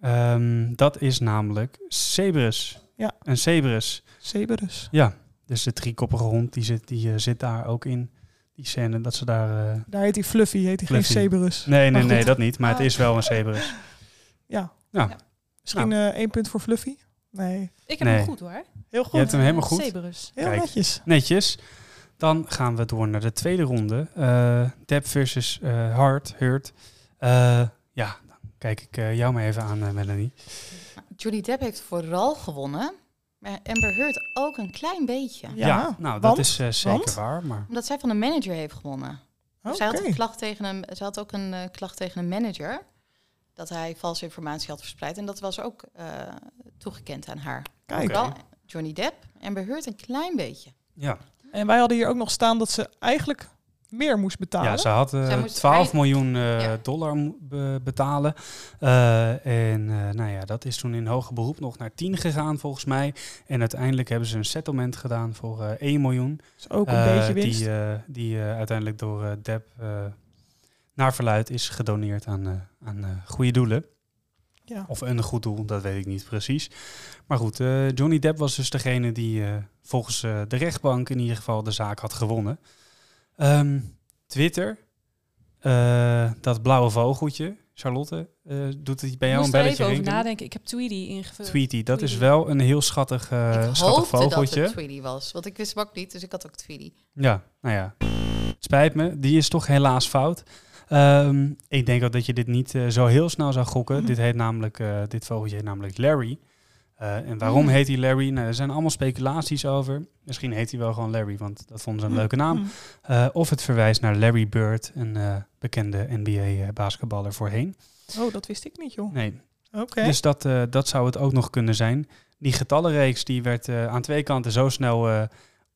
A: Ehm, dat is namelijk Cerberus.
B: Ja.
A: Een Cerberus.
B: Zeberus.
A: Ja, dus de driekoppige hond die zit, die, eh, zit daar ook in. Die scène dat ze daar. eh,
B: Daar heet hij Fluffy, heet hij geen
A: Fluffy.
B: Zeberus.
A: Nee,
B: Maar
A: nee, nee,
B: goed.
A: dat niet. Maar het
C: Ah.
A: is wel een zebrus.
B: Ja.
A: Ja.
B: Misschien eh, één punt voor Fluffy? Nee.
C: Ik heb
A: Nee.
C: hem goed hoor.
B: Heel
A: Je
B: goed.
A: hebt hem helemaal goed.
C: Cerberus.
B: Heel
A: Kijk.
B: netjes.
A: Netjes. Dan gaan we door naar de tweede ronde. Eh Deb versus eh Hart, Hurt. Eh, ja, dan kijk ik eh, jou maar even aan, eh, Melanie.
D: Johnny Depp heeft vooral gewonnen. Maar Amber Heard ook een klein beetje.
B: Ja,
A: nou,
B: want-
A: dat is eh, zeker
B: want?
A: waar. Maar
D: Omdat zij van de manager heeft gewonnen. Dus
B: Oké.
D: Zij had, een klacht tegen een, zij had ook een eh, klacht tegen een manager. Dat hij valse informatie had verspreid. En dat was ook eh, toegekend aan haar.
B: Kijk.
A: Oké.
D: Wel Johnny Depp en Beheurt een klein beetje.
A: ja,
B: En wij hadden hier ook nog staan dat ze eigenlijk meer moest betalen.
A: ja ze had eh,
D: Zij moest
A: 12
D: hij-
A: miljoen eh,
D: Ja.
A: dollar mo- be- betalen. Eh, en eh, nou ja, dat is toen in hoger beroep nog naar 10 gegaan volgens mij. En uiteindelijk hebben ze een settlement gedaan voor eh 1 miljoen.
B: Dus ook een
A: Eh,
B: beetje winst.
A: Die, eh, die eh, uiteindelijk door eh Deb eh, naar verluid is gedoneerd aan, eh, aan eh, goede doelen.
B: ja.
A: Of een goed doel, dat weet ik niet precies. Maar goed, eh, Johnny Depp was dus degene die eh, volgens eh, de rechtbank in ieder geval de zaak had gewonnen. Ehm, Twitter, eh, dat blauwe vogeltje, Charlotte, eh, doet het bij jou
C: Ik
A: een
C: moest er even
A: belletje
C: over
A: rinkelen?
C: nadenken. Ik heb Tweedy ingevuld.
A: Tweety, dat is
C: Tweety.
A: wel een heel schattig, eh,
D: ik
A: schattig
D: hoopte
A: vogeltje.
D: dat het Tweedy was. Want ik wist hem ook niet, dus ik had ook Tweedy.
A: Ja, nou ja. Spijt me, die is toch helaas fout. Ehm, ik denk ook dat je dit niet eh, zo heel snel zou gokken.
B: Mhm.
A: Dit, heet namelijk, eh, dit vogeltje heet namelijk Larry. Eh, en waarom
D: Mm.
A: heet hij Larry? Nou, er zijn allemaal speculaties over. Misschien heet hij wel gewoon Larry, want dat vonden ze een leuke naam.
B: Hm.
A: Eh, of het verwijst naar Larry Bird, een eh, bekende NBA-basketballer eh, voorheen.
B: Oh, dat wist ik niet, joh.
A: Nee,
B: Oké.
A: dus dat, eh, dat zou het ook nog kunnen zijn. Die getallenreeks die werd eh, aan twee kanten zo snel eh,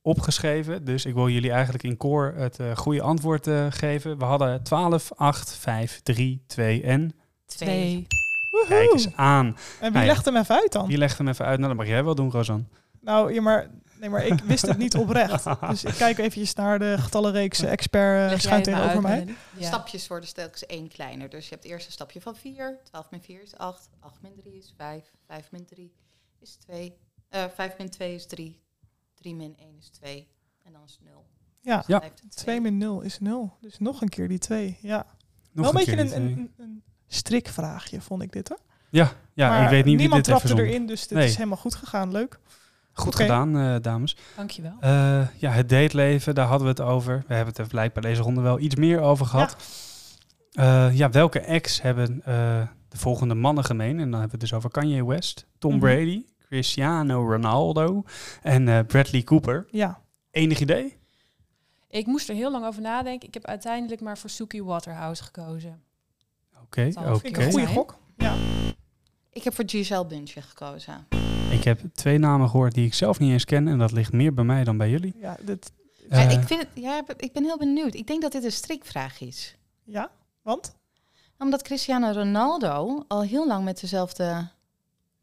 A: opgeschreven. Dus ik wil jullie eigenlijk in koor het eh, goede antwoord eh, geven. We hadden 12, 8, 5, 3, 2 en...
D: Twee.
C: Twee.
B: Woehoe.
A: Kijk eens aan.
B: En wie
A: Nou ja.
B: legt hem even uit dan?
A: Wie legt hem even uit? Nou, dat mag jij wel doen, Rosan.
B: Nou, ja, maar, nee, maar ik wist het niet oprecht. Dus ik kijk eventjes naar de getallenreeks eh, expert eh,
C: Leg
B: schuin
C: jij het maar
B: tegenover
C: uit,
B: mij.
C: Melanie? Ja.
D: Stapjes worden telkens één kleiner. Dus je hebt eerst een stapje van 4. 12 min 4 is 8. 8 min 3 is 5. 5 min 3 is 2. eh 5 min 2 is 3. 3 min 1 is 2. En dan is Dus 0.
B: Ja.
A: Ja.
B: 2 min 0 is 0. Dus nog een keer die 2. Ja.
A: Nog
B: Wel een beetje
A: keer
B: een,
A: die twee.
B: een, een strikvraagje, vond ik dit. Hè?
A: Ja, ja
B: maar
A: ik weet niet wie
B: niemand
A: dit heeft
B: trapte
A: verzonnen.
B: erin, dus dit
A: Nee.
B: is helemaal goed gegaan. Leuk.
A: Goed
B: Oké.
A: gedaan, eh, dames.
C: Dankjewel.
A: Eh, ja, het dateleven, daar hadden we het over. We hebben het er blijkbaar deze ronde wel iets meer over gehad. Eh, ja, welke ex hebben eh, de volgende mannen gemeen? En dan hebben we het dus over Kanye West, Tom
B: Mhm.
A: Brady, Cristiano Ronaldo en eh, Bradley Cooper.
B: Ja.
A: Enig idee?
C: Ik moest er heel lang over nadenken. Ik heb uiteindelijk maar voor Suki Waterhouse gekozen.
A: Oké,
C: Zal ik
A: oké.
B: Vind ik een goede
C: Oké.
B: gok.
D: Ik heb voor Giselle Bundchen gekozen.
A: Ik heb twee namen gehoord die ik zelf niet eens ken. En dat ligt meer bij mij dan bij jullie.
B: Ja, dit,
D: Maar
A: Eh,
D: ik, vind het, ja, ik ben heel benieuwd. Ik denk dat dit een strikvraag is.
B: ja, want?
D: Omdat Cristiano Ronaldo al heel lang met dezelfde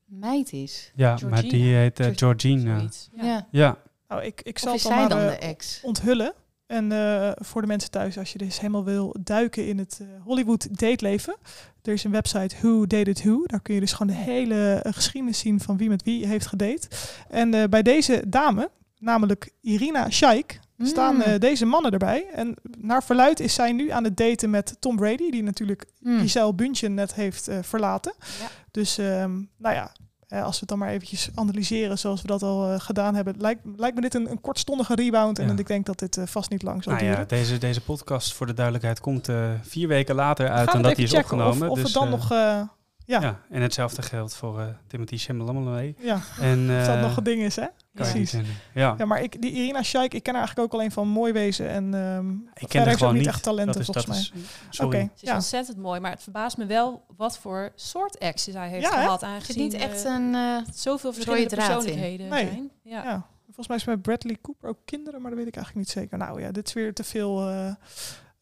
D: meid is.
A: ja, maar
C: Georgina.
A: die heet eh,
D: Geor-
A: Georgina.
C: Zoiets. Ja.
D: Ja.
A: Ja,
B: Nou, ik, ik
D: Of
B: zal
D: is
B: het
D: zij
B: maar
D: dan
B: eh,
D: de ex?
B: onthullen. En eh, voor de mensen thuis, als je dus helemaal wil duiken in het eh, Hollywood dateleven. Er is een website Who Dated Who. Daar kun je dus gewoon de hele eh, geschiedenis zien van wie met wie heeft gedate. En eh, bij deze dame, namelijk Irina Shayk, staan
D: Mm.
B: eh, deze mannen erbij. En naar verluid is zij nu aan het daten met Tom Brady, die natuurlijk
D: Hmm.
B: Giselle Bündchen net heeft eh, verlaten.
D: Ja.
B: Dus ehm, nou ja, eh, als we het dan maar eventjes analyseren zoals we dat al eh, gedaan hebben, lijkt, lijkt me dit een, een kortstondige rebound. En
A: Ja.
B: dat ik denk dat dit eh, vast niet lang zal
A: nou
B: duren.
A: ja, deze, deze podcast voor de duidelijkheid komt eh, vier weken later
B: We
A: uit
B: gaan
A: dan dat
B: het
A: die is
B: even checken
A: opgenomen.
B: Of, of
A: dus,
B: het dan
A: eh,
B: nog, eh, ja,
A: ja. en hetzelfde geldt voor eh, Timothy Chalamet.
B: ja,
A: En
B: of dat
A: eh,
B: nog een ding is, hè?
A: kan je
B: precies.
A: niet kennen. Ja,
B: Ja, maar ik, die Irina Shayk, ik ken haar eigenlijk ook alleen van mooi wezen. En ehm
A: ik ken haar
B: verder heeft ze ook
A: gewoon
B: niet
A: niet.
B: echt talenten,
A: dat is,
B: volgens
A: dat
B: mij.
A: is, sorry.
B: Oké,
C: Ze is
B: ja.
C: ontzettend mooi, maar het verbaast me wel wat voor soort exes hij heeft
B: Ja, hè?
C: gehad.
D: Het is
C: Aangezien
D: niet echt een... eh,
C: eh, zoveel
D: rode
C: verschillende
D: draad in.
C: persoonlijkheden
B: Nee.
C: zijn. Ja.
B: Ja. Volgens mij is met Bradley Cooper ook kinderen, maar dat weet ik eigenlijk niet zeker. Nou ja, dit is weer te veel eh,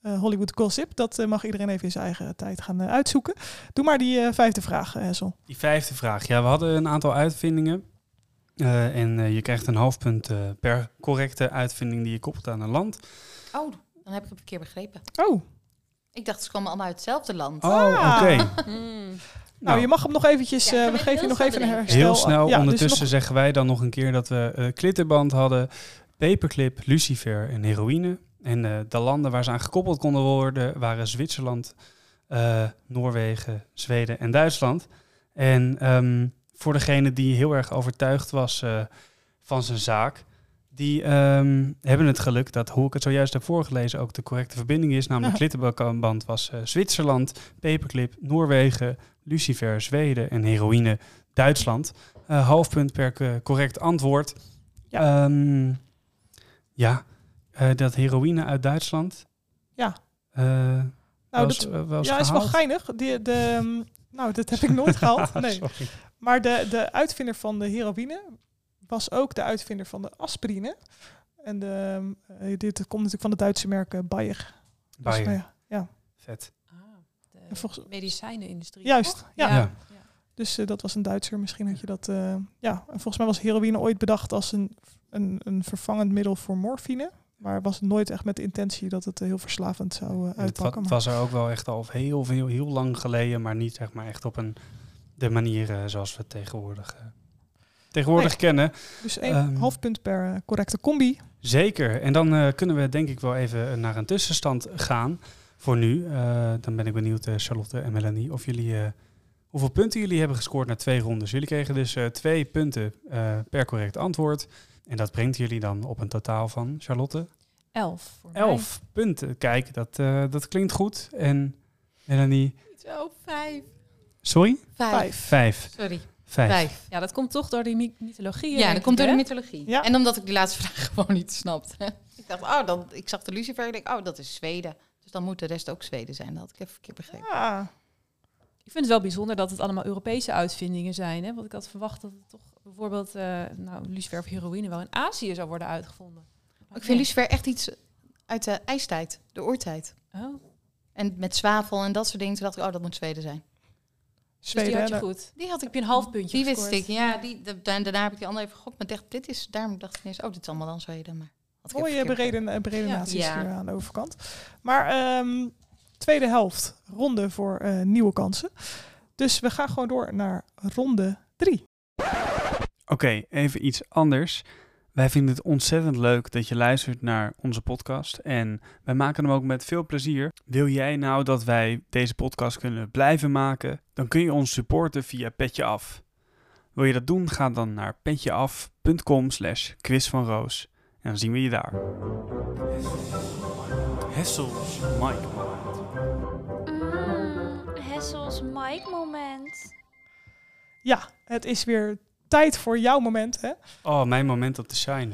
B: eh, Hollywood gossip. Dat eh, mag iedereen even in zijn eigen tijd gaan eh, uitzoeken. Doe maar die eh, vijfde vraag, eh, Hessel.
A: Die vijfde vraag. Ja, we hadden een aantal uitvindingen. Eh, en eh, je krijgt een half punt eh, per correcte uitvinding die je koppelt aan een land.
D: oh, dan heb ik het verkeerd begrepen.
B: Oh,
D: Ik dacht, ze komen allemaal uit hetzelfde land.
A: Oh,
B: Ah.
A: oké.
C: Mm.
B: nou je mag hem nog eventjes,
D: Ja,
B: eh,
D: gaan
B: we
D: we
B: geven je
D: heel
B: nog
D: snel
B: even een
D: bedenken.
B: herstel.
A: Heel snel.
B: Ja, dus
A: Ondertussen
B: nog-
A: zeggen wij dan nog een keer dat we eh, klittenband hadden, paperclip, lucifer en heroïne. En eh, de landen waar ze aan gekoppeld konden worden waren Zwitserland, eh, Noorwegen, Zweden en Duitsland. En ehm, voor degene die heel erg overtuigd was eh, van zijn zaak, die ehm, hebben het geluk dat, hoe ik het zojuist heb voorgelezen, ook de correcte verbinding is. Namelijk klittenband was eh, Zwitserland, paperclip, Noorwegen, Lucifer, Zweden en heroïne, Duitsland. Eh, half punt per co- correct antwoord. Ja, ja eh, dat heroïne uit Duitsland.
B: Ja.
A: Eh,
B: nou,
A: was,
B: dat,
A: eh, was
B: ja, is wel
A: gehaald. Ah,
B: geinig. Die, de, ehm, nou, dat heb ik nooit gehaald. Nee.
A: Sorry.
B: Maar de, de uitvinder van de heroïne was ook de uitvinder van de aspirine. En de, eh, dit komt natuurlijk van het Duitse merk eh, Bayer. Dus,
A: Bayer,
B: nou ja,
A: vet.
C: Ah, de
B: En volgens-
C: medicijnenindustrie.
B: Juist,
C: toch?
B: ja.
A: Ja.
B: Dus eh, dat was een Duitser, misschien had je dat. eh, ja, en volgens mij was heroïne ooit bedacht als een, een, een vervangend middel voor morfine. Maar was het nooit echt met de intentie dat het eh, heel verslavend zou eh,
A: En Het wa-
B: uitpakken. Maar,
A: was er ook wel echt al heel, heel, heel lang geleden, maar niet zeg maar echt op een, de manier eh, zoals we het tegenwoordig, eh, tegenwoordig kennen.
B: dus één
A: ehm,
B: half punt per eh, correcte combi.
A: Zeker. En dan eh, kunnen we denk ik wel even eh, naar een tussenstand gaan voor nu. Eh, dan ben ik benieuwd, eh, Charlotte en Melanie, of jullie, eh, hoeveel punten jullie hebben gescoord na twee rondes. Jullie kregen dus eh, twee punten eh, per correct antwoord. En dat brengt jullie dan op een totaal van, Charlotte,
C: Elf. Voor mij.
A: elf punten. Kijk, dat, eh, dat klinkt goed. En Melanie,
D: Zo, vijf.
A: sorry?
D: Vijf.
B: Vijf.
A: Vijf.
D: Sorry,
A: Vijf.
D: vijf.
C: Ja, dat komt toch door die my- mythologie.
D: Ja,
C: denk
D: dat
C: ik,
D: komt door de
C: hè?
D: mythologie.
B: Ja.
D: En omdat ik die laatste vraag gewoon niet snapte. ik dacht, oh, dan, ik zag de Lucifer en ik denk, oh, dat is Zweden. Dus dan moet de rest ook Zweden zijn. Dat had ik even verkeerd begrepen.
B: Ja,
C: Ik vind het wel bijzonder dat het allemaal Europese uitvindingen zijn. Hè? Want ik had verwacht dat het toch bijvoorbeeld eh nou, lucifer of heroïne wel in Azië zou worden uitgevonden. Maar
D: Ik vind
C: nee.
D: Lucifer echt iets uit de ijstijd, de oertijd.
C: Oh,
D: En met zwavel en dat soort dingen. Toen dacht ik, oh, dat moet Zweden zijn.
C: dus die
B: Zweden.
C: had
B: hè,
C: je goed.
D: Die had ik
C: Heb je een half puntje
D: Die wist
C: gescoord.
D: ik, ja. Die, da- da- daarna heb ik die andere even gegokt. Maar dacht, dit is, daarom dacht ik ineens, oh, dit is allemaal dan Zweden. Maar had ik even
B: Mooie
D: verkeerd
B: bereden, eh, beredenaties
D: Ja.
B: hier aan de overkant. Maar ehm, tweede helft, ronde voor eh, nieuwe kansen. Dus we gaan gewoon door naar ronde drie.
A: Oké, even iets anders. Wij vinden het ontzettend leuk dat je luistert naar onze podcast. En wij maken hem ook met veel plezier. Wil jij nou dat wij deze podcast kunnen blijven maken? Dan kun je ons supporten via Petje Af. Wil je dat doen? Ga dan naar petjeaf.com slash quiz van Roos. En dan zien we je daar. Hessels Mike
E: Mm, Hessels Mike moment.
B: Ja, het is weer tijd voor jouw moment, hè?
A: Oh, mijn moment op de shine.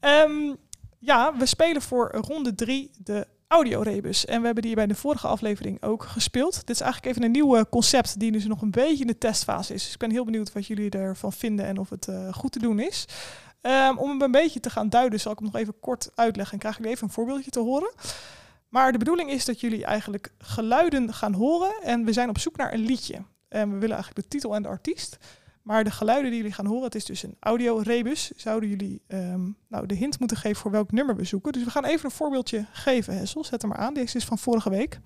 B: Ehm, ja, we spelen voor ronde drie de audiorebus. En we hebben die bij de vorige aflevering ook gespeeld. Dit is eigenlijk even een nieuw eh, concept die dus nog een beetje in de testfase is. Dus ik ben heel benieuwd wat jullie ervan vinden en of het eh, goed te doen is. Ehm, om hem een beetje te gaan duiden zal ik hem nog even kort uitleggen en krijgen jullie even een voorbeeldje te horen. Maar de bedoeling is dat jullie eigenlijk geluiden gaan horen en we zijn op zoek naar een liedje. En we willen eigenlijk de titel en de artiest. Maar de geluiden die jullie gaan horen, het is dus een audiorebus. Zouden jullie ehm, nou, de hint moeten geven voor welk nummer we zoeken. Dus we gaan even een voorbeeldje geven, Hessel. Zet hem maar aan. Deze is van vorige week.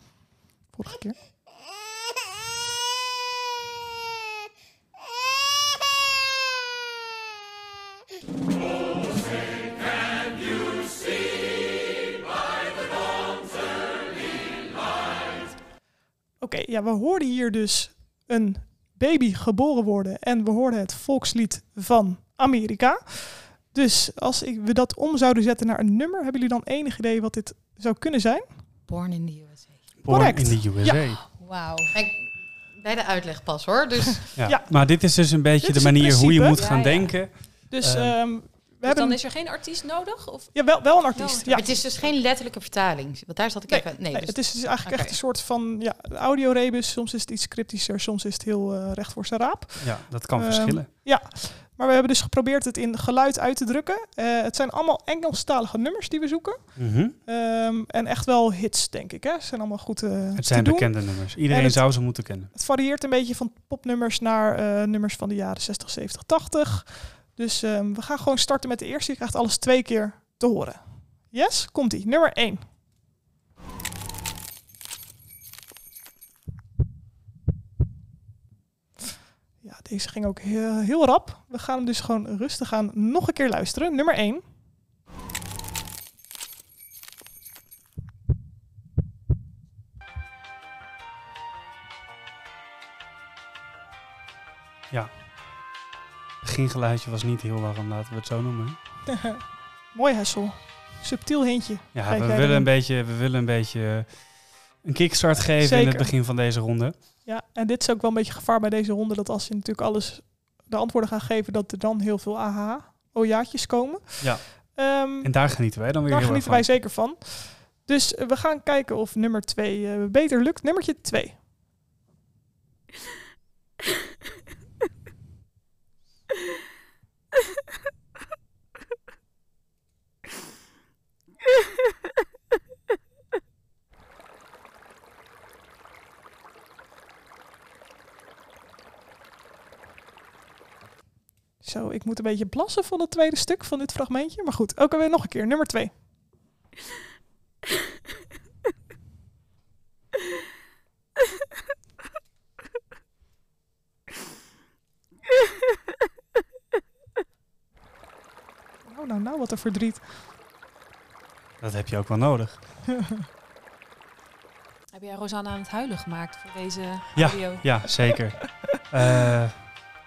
B: Vorige keer. Oké, ja, we hoorden hier dus een baby geboren worden. En we hoorden het volkslied van Amerika. Dus als ik, we dat om zouden zetten naar een nummer, hebben jullie dan enig idee wat dit zou kunnen zijn?
D: Born in the USA.
A: Born
B: Correct.
A: in the USA. Ja.
D: Wauw. Ik, bij de uitleg pas hoor. Dus
B: Ja.
A: Maar dit is dus een beetje
B: Dit is
A: de
B: het
A: manier hoe je
B: principe.
A: moet
C: Ja,
A: gaan
C: ja.
A: denken.
B: Dus
A: Ehm,
B: ehm, we
C: Dus
B: hebben
C: dan is er geen artiest nodig? Of
B: ja, wel, wel een
C: Wel
B: artiest.
C: een
B: Ja.
D: Maar het is dus geen letterlijke vertaling. Want daar zat ik
B: Nee,
D: even... Nee,
B: Nee,
D: dus
B: het is dus eigenlijk
D: Oké.
B: echt een soort van ja, audiorebus. Soms is het iets cryptischer, soms is het heel eh, recht voor zijn raap.
A: Ja, dat kan
B: Ehm,
A: verschillen.
B: Maar we hebben dus geprobeerd het in geluid uit te drukken. Eh, het zijn allemaal Engelstalige nummers die we zoeken.
A: Mhm.
B: Ehm, en echt wel hits, denk ik. Hè? Het zijn allemaal goed eh,
A: Het
B: te
A: zijn
B: doen.
A: bekende nummers. Iedereen
B: En het-
A: zou ze moeten kennen.
B: Het varieert een beetje van popnummers naar eh, nummers van de jaren 60, 70, 80. Dus ehm, we gaan gewoon starten met de eerste. Je krijgt alles twee keer te horen. Yes, komt-ie. Nummer 1. Ja, deze ging ook heel, heel rap. We gaan hem dus gewoon rustig aan nog een keer luisteren. Nummer 1.
A: Het begingeluidje was niet heel warm, laten we het zo noemen.
B: Mooi, Hessel. Subtiel hintje.
A: Ja,
B: Kijk
A: we
B: jij
A: willen,
B: dan?
A: een beetje, we willen een beetje eh, een kickstart geven in
B: Zeker.
A: het begin van deze ronde.
B: Ja, en dit is ook wel een beetje gevaar bij deze ronde. Dat als je natuurlijk alles de antwoorden gaat geven, dat er dan heel veel aha ojaatjes komen.
A: Ja.
B: Ehm,
A: En daar genieten wij dan weer
B: daar
A: heel erg
B: genieten
A: van.
B: wij zeker van. Dus eh, we gaan kijken of nummer 2 beter lukt. Nummertje 2. Zo, ik moet een beetje plassen van het tweede stuk van dit fragmentje. Maar goed, ook alweer nog een keer. Nummer 2. Nou, nou, nou, wat een verdriet.
A: Dat heb je ook wel nodig.
C: heb jij Rosanna aan het huilen gemaakt voor deze
A: Ja.
C: video?
A: Ja, zeker. Eh,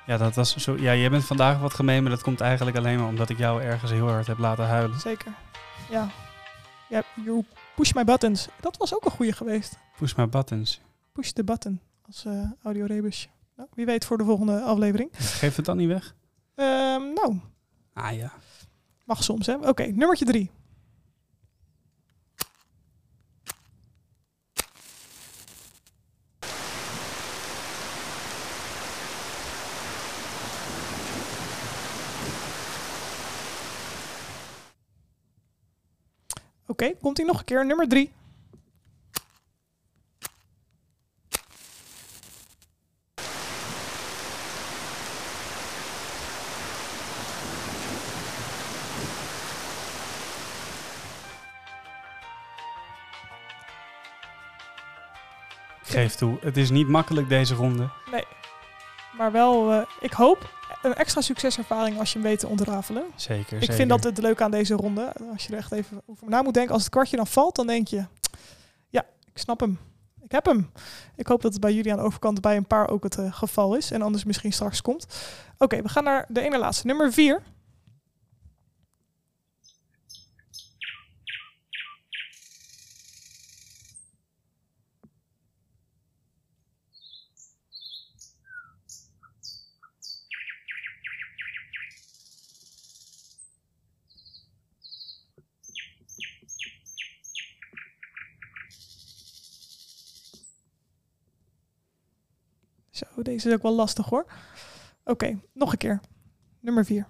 A: ja, dat was zo, ja, jij bent vandaag wat gemeen, maar dat komt eigenlijk alleen maar omdat ik jou ergens heel hard heb laten huilen.
B: Zeker. Ja. Ja, you push my buttons. Dat was ook een goeie geweest.
A: Push my buttons.
B: Push the button als eh audiorebusje. Nou, wie weet voor de volgende aflevering.
A: Geef het dan niet weg.
B: Ehm, nou,
A: Ah ja.
B: mag soms, hè. Oké, nummertje 3. Oké, komt hij nog een keer. Nummer 3.
A: Ik geef toe. Het is niet makkelijk deze ronde.
B: Maar wel, eh, ik hoop, een extra succeservaring als je hem weet te ontrafelen.
A: Zeker.
B: Ik vind dat het leuk aan deze ronde. Als je er echt even over na moet denken. Als het kwartje dan valt, dan denk je... Ja, ik snap hem. Ik heb hem. Ik hoop dat het bij jullie aan de overkant bij een paar ook het eh, geval is. En anders misschien straks komt. Oké, we gaan naar de ene laatste. Nummer vier. Zo, deze is ook wel lastig hoor. Oké, nog een keer. Nummer 4.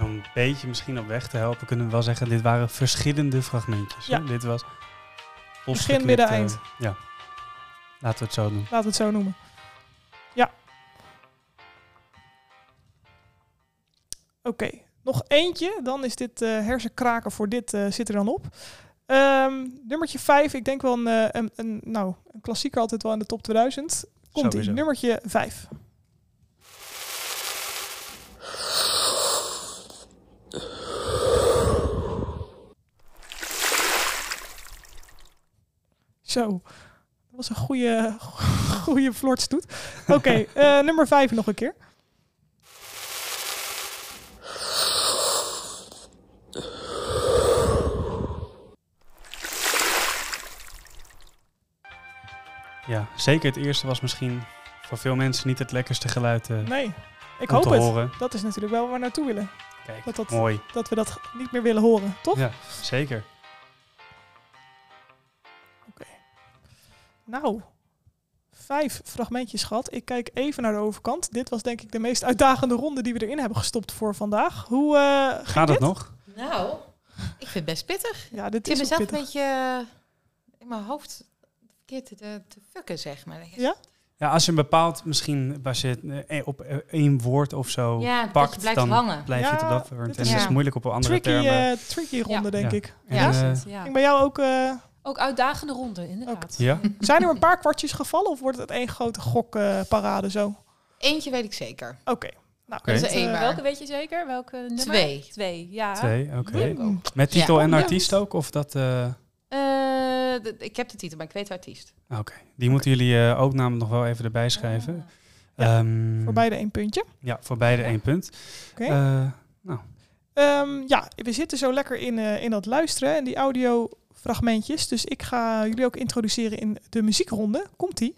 A: Om een beetje misschien op weg te helpen, kunnen we wel zeggen, dit waren verschillende fragmentjes. hè?
B: Ja.
A: Dit was losgeknipt,
B: midden,
A: eh,
B: eind.
A: Ja. Laten we het zo doen.
B: Laten we het zo noemen. Ja. Oké, nog eentje. Dan is dit eh, hersenkraken voor dit eh, zit er dan op. Ehm, nummertje 5, ik denk wel een, eh, een, een, nou, een klassieker altijd wel in de top 2000. Komt
A: Sowieso.
B: ie, nummertje 5. Zo, dat was een goede, goede flirtstoet. Oké, eh, nummer 5 nog een keer.
A: Ja, zeker het eerste was misschien voor veel mensen niet het lekkerste geluid eh,
B: Nee, ik
A: om
B: hoop
A: te
B: het.
A: horen.
B: Dat is natuurlijk wel waar we naartoe willen.
A: Kijk,
B: Dat dat-
A: mooi.
B: Dat we dat niet meer willen horen, toch?
A: Ja, zeker.
B: Nou, vijf fragmentjes gehad. Ik kijk even naar de overkant. Dit was denk ik de meest uitdagende ronde die we erin hebben gestopt voor vandaag. Hoe eh, ging
A: Gaat het
B: dit?
A: nog?
D: Nou, ik vind het best pittig.
B: Ja, dit
D: Ik zit
B: is ook
D: mezelf een
B: pittig.
D: beetje eh, in mijn hoofd verkeerd te, te, te fucken, zeg maar.
B: Ja?
A: Ja, als je een bepaald, misschien was je eh, op eh, één woord of zo
D: Ja, dat je
A: Oh, pakt,
D: blijft
A: dan
D: hangen.
A: blijf je
B: Ja,
A: het op dat woord.
B: dit
A: En
D: is
A: het is
D: een
A: moeilijk op een andere
B: Tricky,
A: termen.
B: eh, tricky ronde, denk
A: Ja.
B: ik.
A: En,
D: Ja.
A: eh,
C: Precies, ja.
B: Ik bij jou ook. eh,
C: Ook uitdagende ronden, inderdaad.
A: ja?
B: zijn er een paar kwartjes gevallen of wordt het één grote gokparade zo? Oké.
D: Eentje weet ik zeker.
B: Nou,
A: Oké.
D: Dat is
B: dit,
D: er één
B: eh,
C: Eh,
D: waar.
C: welke weet je zeker? Welke nummer?
D: Twee.
C: Twee, ja.
A: Twee, oké.
B: Mm.
A: Met titel en
D: Ja.
A: artiest ook? Of dat... eh,
D: Eh, d- ik heb de titel, maar ik weet de artiest.
A: Oké, die moeten jullie eh, ook namelijk nog wel even erbij schrijven.
B: Ah, Ja,
A: Ehm,
B: Voor beide één puntje.
A: Ja, voor beide één punt.
B: Oké.
A: Eh,
B: Ehm, ja, we zitten zo lekker in, eh, in dat luisteren en die audiofragmentjes. Dus ik ga jullie ook introduceren in de muziekronde. Komt-ie.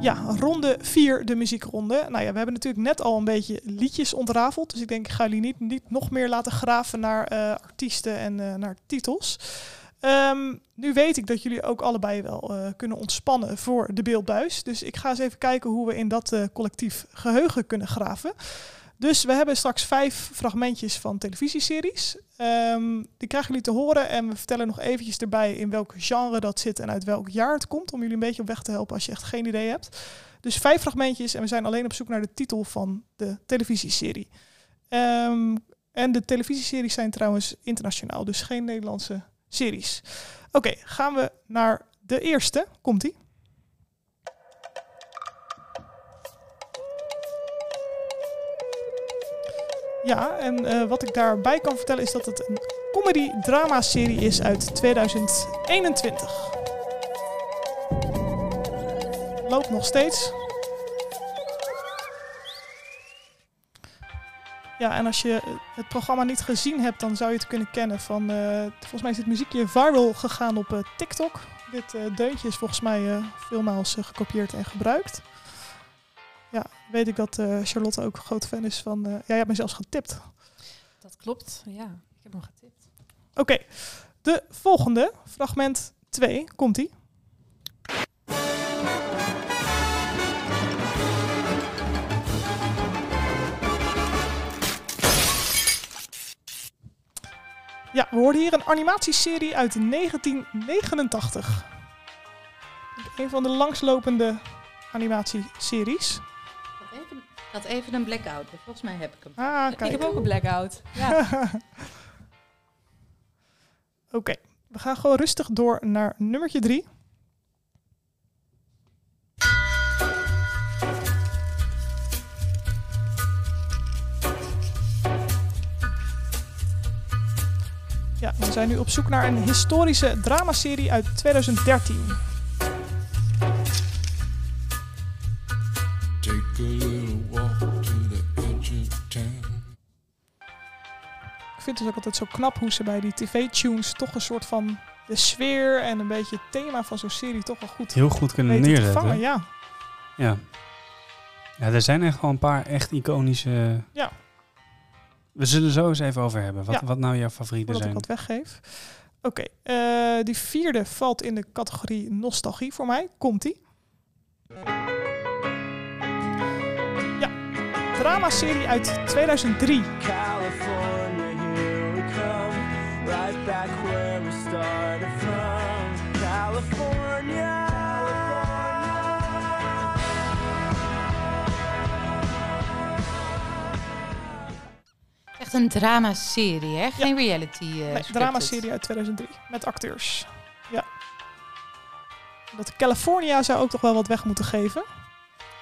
B: Ja, ronde 4, de muziekronde. Nou ja, we hebben natuurlijk net al een beetje liedjes ontrafeld. Dus ik denk, ik ga jullie niet, niet nog meer laten graven naar eh, artiesten en eh, naar titels. Ehm, nu weet ik dat jullie ook allebei wel eh, kunnen ontspannen voor de beeldbuis. Dus ik ga eens even kijken hoe we in dat eh, collectief geheugen kunnen graven. Dus we hebben straks vijf fragmentjes van televisieseries. Ehm, die krijgen jullie te horen en we vertellen nog eventjes erbij in welk genre dat zit en uit welk jaar het komt. Om jullie een beetje op weg te helpen als je echt geen idee hebt. Dus vijf fragmentjes en we zijn alleen op zoek naar de titel van de televisieserie. Ehm, en de televisieseries zijn trouwens internationaal, dus geen Nederlandse series. Oké, gaan we naar de eerste. Komt-ie. Ja, en eh, wat ik daarbij kan vertellen is dat het een comedy-drama-serie is uit 2021. Loopt nog steeds. Ja, en als je eh, het programma niet gezien hebt, dan zou je het kunnen kennen van... eh, volgens mij is dit muziekje viral gegaan op eh, TikTok. Dit eh, deuntje is volgens mij eh, veelmaals eh, gekopieerd en gebruikt. Ja, weet ik dat eh, Charlotte ook een groot fan is van... eh ja, jij hebt me zelfs getipt.
C: Dat klopt, ja. Ik heb hem getipt.
B: Oké, de volgende, fragment 2, komt-ie. Ja, we hoorden hier een animatieserie uit 1989. Een van de langslopende animatieseries.
D: Ik had even, ik had even een blackout, maar volgens mij heb ik hem.
B: Ah, kijk.
C: Ik heb ook een blackout. Ja.
B: Oké, we gaan gewoon rustig door naar nummertje 3. Ja, we zijn nu op zoek naar een historische dramaserie uit 2013.
F: Take a little walk to the edge of town.
B: vind het ook altijd zo knap hoe ze bij die tv-tunes toch een soort van de sfeer en een beetje het thema van zo'n serie toch wel goed
A: Heel goed kunnen
B: weten te
A: neerzetten.
B: vangen. Ja.
A: Ja. ja, er zijn echt wel een paar echt iconische...
B: Ja.
A: We zullen zo eens even over hebben. Wat,
B: Ja.
A: wat nou jouw favorieten
B: voordat ik
A: zijn.
B: wat weggeef. Oké, eh, die vierde valt in de categorie nostalgie voor mij. Komt die? Ja, dramaserie uit 2003.
F: California, here we come. Right back where we started from. California.
D: Echt een dramaserie, hè? Geen reality. eh
B: Nee,
D: scripted.
B: dramaserie uit 2003 met acteurs. Ja. Dat California zou ook toch wel wat weg moeten geven.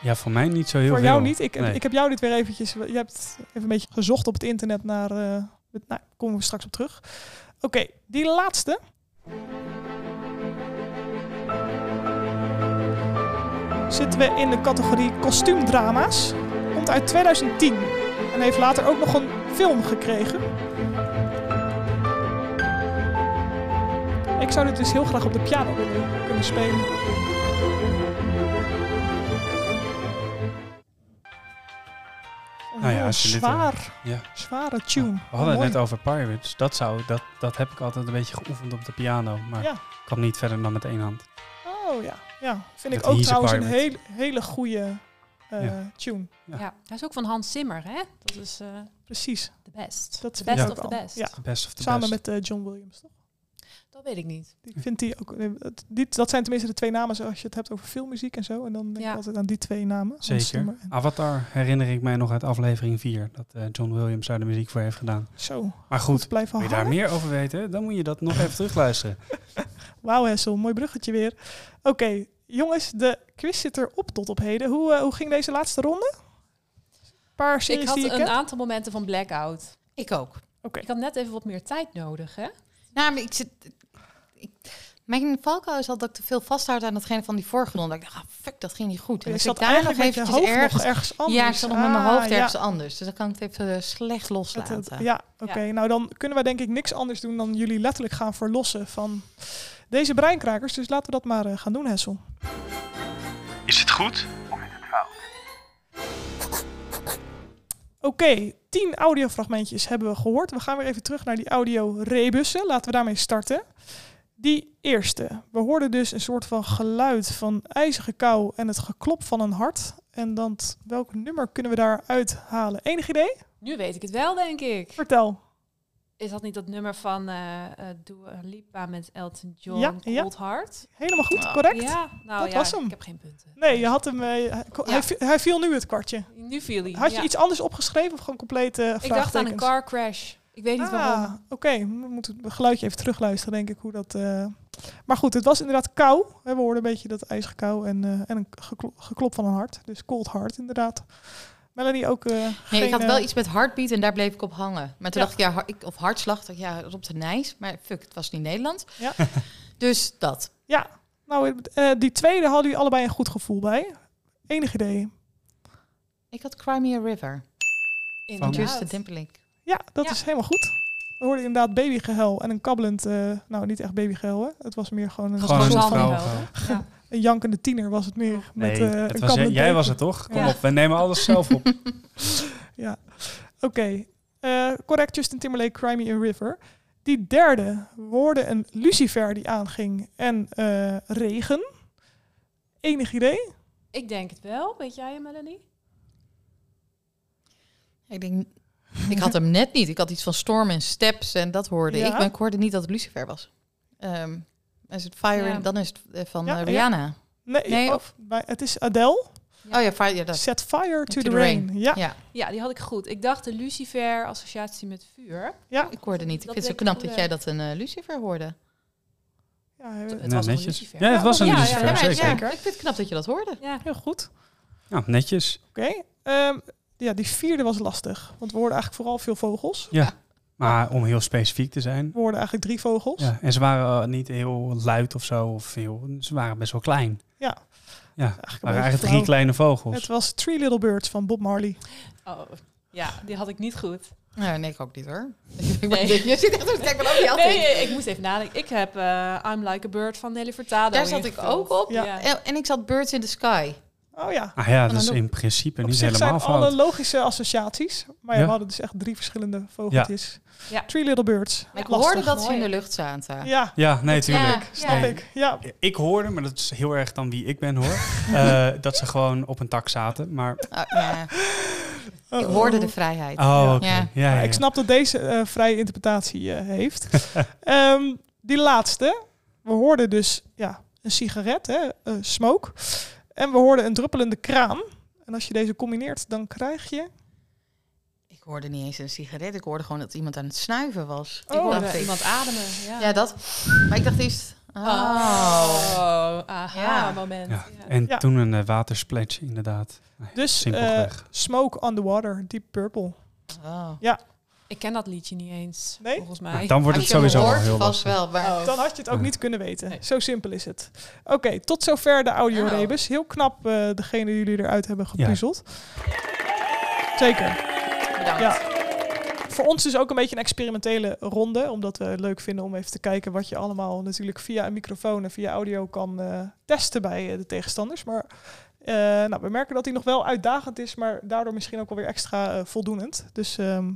A: Ja, voor mij niet zo heel
B: Voor
A: veel.
B: jou niet. Ik,
A: Nee.
B: ik heb jou dit weer eventjes. Je hebt even een beetje gezocht op het internet naar. eh het- nou, komen we straks op terug. Oké, die laatste. Zitten we in de categorie kostuumdrama's. Komt uit 2010 en heeft later ook nog een film gekregen. Ik zou dit dus heel graag op de piano willen kunnen spelen. Een
A: Nou ja,
B: heel
A: als je dit, eh,
B: zwaar,
A: ja. Oh,
B: zware tune.
A: We hadden het
B: Mooi.
A: net over Pirates. Dat, zou, dat, dat heb ik altijd een beetje geoefend op de piano. Maar
B: Ja.
A: ik kwam niet verder dan met één hand.
B: Oh ja, ja. vind
A: Met
B: ik ook
A: He's a
B: trouwens een
A: Pirate.
B: hele, hele goede eh,
A: Ja.
B: tune.
A: Ja.
C: Ja. hij is ook van Hans Zimmer, hè? Dat is eh
B: Precies.
C: the best.
B: Dat
C: the
B: vind
C: best
B: ik
C: of the
B: ook wel.
C: best.
B: Ja.
A: Best of the
B: Samen
A: best.
B: met eh, John Williams, toch?
C: Dat weet ik niet.
B: Die vindt die ook, eh, dat- die, dat zijn tenminste de twee namen zoals je het hebt over filmmuziek en zo. En dan denk
C: Ja.
B: ik altijd aan die twee namen. Hans
A: Zeker.
B: Zimmer en-
A: Avatar herinner ik mij nog uit aflevering 4. Dat eh, John Williams daar de muziek voor heeft gedaan.
B: Zo,
A: Maar goed,
B: blijven
A: wil je daar
B: hangen.
A: meer over weten? Dan moet je dat nog even terugluisteren.
B: Wauw Hessel, mooi bruggetje weer. Oké, jongens, de quiz zit erop tot op heden. Hoe, eh, hoe ging deze laatste ronde? Een paar series
C: ik had
B: die je
C: een
B: kent?
C: aantal momenten van blackout.
D: Ik ook.
B: Oké.
C: Ik had net even wat meer tijd nodig, hè?
D: Nou, maar ik zit... Ik, mijn valkuil is al dat ik te veel vasthoud aan datgene van die vorige ronde. Ik dacht, ah, fuck, dat ging niet goed. En
B: Je
D: dus
B: zat
D: ik daar nog
B: eigenlijk met je
D: eventjes
B: hoofd
D: ergens...
B: nog ergens anders.
D: Ja, ik zat nog met mijn
B: Ah,
D: hoofd
B: ja.
D: ergens anders. Dus dan kan ik het even eh, slecht
B: Het- het-
D: loslaten.
B: ja, oké. Nou, dan kunnen wij denk ik niks anders doen dan jullie letterlijk gaan verlossen van deze breinkrakers. Dus laten we dat maar eh, gaan doen, Hessel.
A: Is het goed?
B: Oké, tien audiofragmentjes hebben we gehoord. We gaan weer even terug naar die audio-rebussen. Laten we daarmee starten. Die eerste. We hoorden dus een soort van geluid van ijzige kou en het geklop van een hart. En dan t- welk nummer kunnen we daaruit halen? Enig idee?
C: Nu weet ik het wel, denk ik.
B: Vertel.
C: Is dat niet dat nummer van eh eh Dua Lipa met Elton John,
B: Ja, ja.
C: Cold Heart?
B: Helemaal goed, correct?
C: Ja, nou
B: Dat
C: ja,
B: was hem.
C: ik heb geen punten.
B: Nee, je had hem. eh, hij, hij vi- hij viel nu het kwartje.
C: Nu viel hij.
B: Had je
C: ja.
B: iets anders opgeschreven of gewoon complete eh
C: Ik dacht aan een
B: vraagtekens?
C: car crash. Ik weet niet waarom.
B: Ah, oké. We moeten het geluidje even terugluisteren, denk ik, hoe dat... eh. Maar goed, het was inderdaad kou. We hoorden een beetje dat ijzige kou en, eh, en een geklo- geklop van een hart. Dus cold heart, inderdaad. Melanie ook... eh,
D: Nee,
B: geen,
D: ik had
B: eh,
D: wel iets met heartbeat en daar bleef ik op hangen. Maar toen
B: Ja.
D: dacht ik, ja, har- ik, of hartslag, dacht ik, ja, Rob de Nijs. Maar fuck, het was niet Nederlands.
B: Ja.
D: dus dat.
B: Ja, nou, eh, die tweede hadden jullie allebei een goed gevoel bij. Enig idee.
D: Ik had Crimea River.
A: Van-
C: Inderdaad.
D: Justin Timberlake.
B: Ja, dat
C: Ja.
B: is helemaal goed. We hoorden inderdaad babygehuil en een kabbelend... eh, nou, niet echt babygehuil, hè. Het was meer gewoon een,
A: Gewoon een
B: soort
C: Zal
B: van-
A: vrouw.
C: wel, hè? Ja.
B: een jankende tiener was het meer.
A: Nee,
B: met, eh, een
A: het was, jij,
B: kabbelend
A: jij was
B: baby.
A: het toch? Kom
C: Ja.
A: op, we nemen alles zelf op.
B: Ja, oké. Eh, correct, Justin Timberlake, Cry Me a River. Die derde woorden een lucifer die aanging en eh, regen. Enig idee?
C: Ik denk het wel. Weet jij, Melanie?
D: Ik denk, ik had hem net niet. Ik had iets van storm en steps en dat hoorde
B: Ja.
D: ik. Maar ik hoorde niet dat het Lucifer was. Ehm, is het Fire
C: Ja.
D: in- dan is het eh, van
B: Ja,
D: eh,
B: ja.
D: Rihanna.
B: Nee,
D: Nee,
B: oh,
D: of-
B: bij- het is Adele.
D: Oh ja, Fire, ja, dat.
B: Set fire to, the, rain. Ja,
D: Ja.
B: ja.
C: Ja, die had ik goed. Ik dacht de Lucifer associatie met vuur.
D: ik hoorde niet. Ik
C: Dat
D: vind het zo
C: weet ik
D: knap dat
C: wel.
D: jij dat een eh, Lucifer hoorde.
B: eh,
C: Het
A: Nou,
C: was een
A: netjes.
C: lucifer.
A: Ja, het was een
C: Ja, ja,
A: lucifer,
C: ja,
A: zeker.
D: ja, ik vind het knap dat je dat hoorde.
C: Ja.
B: heel goed.
A: Ja, netjes.
B: Oké. ehm, ja, die vierde was lastig. Want we hoorden eigenlijk vooral veel vogels.
A: Maar om heel specifiek te zijn.
B: We hoorden eigenlijk drie vogels.
A: Ja, en ze waren eh, niet heel luid of zo. Of heel, ze waren best wel klein.
B: Ja.
A: Ja,
B: Eigenlijk een
A: waren eigenlijk
B: beetje
A: drie
B: flauw.
A: kleine vogels.
B: Het was Three Little Birds van Bob Marley.
C: Oh, ja, die had ik niet goed.
D: Nou, nee, ik ook niet hoor. Ik
C: Nee.
D: ben- Je zit echt zo te kijken, wat ook niet altijd.
C: Nee, ik moest even nadenken. Ik heb eh, I'm Like a Bird van Nelly Furtado.
D: Daar zat ik
C: ingevuld.
D: ook op.
B: Ja.
D: En, en ik zat Birds in the Sky.
B: Oh ja.
A: Ah ja,
D: Van
A: dat is
D: een
A: in principe
B: Op
A: niet
B: zich zijn
A: helemaal fout.
B: alle logische associaties. Maar ja,
A: Ja.
B: we hadden dus echt drie verschillende vogeltjes.
C: Ja.
B: Three Little Birds.
D: Maar ik
B: Lastig.
D: hoorde dat ze in
C: Mooi.
D: de lucht zaten.
B: Ja,
A: Ja, nee, tuurlijk.
D: Ja,
B: snap
A: Nee.
B: ik. Ja,
A: Ik hoorde, maar dat is heel erg dan wie ik ben hoor, eh, dat ze gewoon op een tak zaten. Maar,
D: Oh, ja.
B: Oh.
D: Ik hoorde de vrijheid.
A: oh, oké.
D: Ja.
A: Ja. Ja,
B: Maar
A: ja.
B: Ik snap dat deze eh, vrije interpretatie eh, heeft. Ehm, die laatste. We hoorden dus ja, een sigaret, hè, eh, smoke. En we hoorden een druppelende kraan. En als je deze combineert, dan krijg je...
D: Ik hoorde niet eens een sigaret. Ik hoorde gewoon dat iemand aan het snuiven was.
B: Oh.
C: Ik
D: Dacht
C: hoorde
D: ik.
C: iemand ademen. Ja,
D: Ja, dat. Maar ik dacht Ah. eerst... Oh.
C: Oh, aha,
D: Ja.
C: moment.
A: Ja.
C: Ja.
A: En
B: Ja.
A: toen een eh, watersplasje, inderdaad.
B: Dus eh,
A: Simpelweg.
B: smoke on the water, deep purple.
D: Oh.
C: Ik ken dat liedje niet eens,
B: Nee?
C: volgens mij.
A: Nou, dan wordt het
D: Als je hem
A: sowieso al
D: hoort,
A: heel
D: vast
A: lastig.
D: wel. Maar
B: Dan had je het ook
A: Ja.
B: niet kunnen weten.
C: Nee.
B: Zo simpel is het. Oké, tot zover de audiorebus. Heel knap eh, degene die jullie eruit hebben gepuzzeld. Zeker.
D: bedankt.
B: Ja. Voor ons dus ook een beetje een experimentele ronde. Omdat we het leuk vinden om even te kijken wat je allemaal natuurlijk via een microfoon en via audio kan eh, testen bij eh, de tegenstanders. Maar eh, nou, we merken dat die nog wel uitdagend is, maar daardoor misschien ook wel weer extra eh, voldoenend. Dus ehm,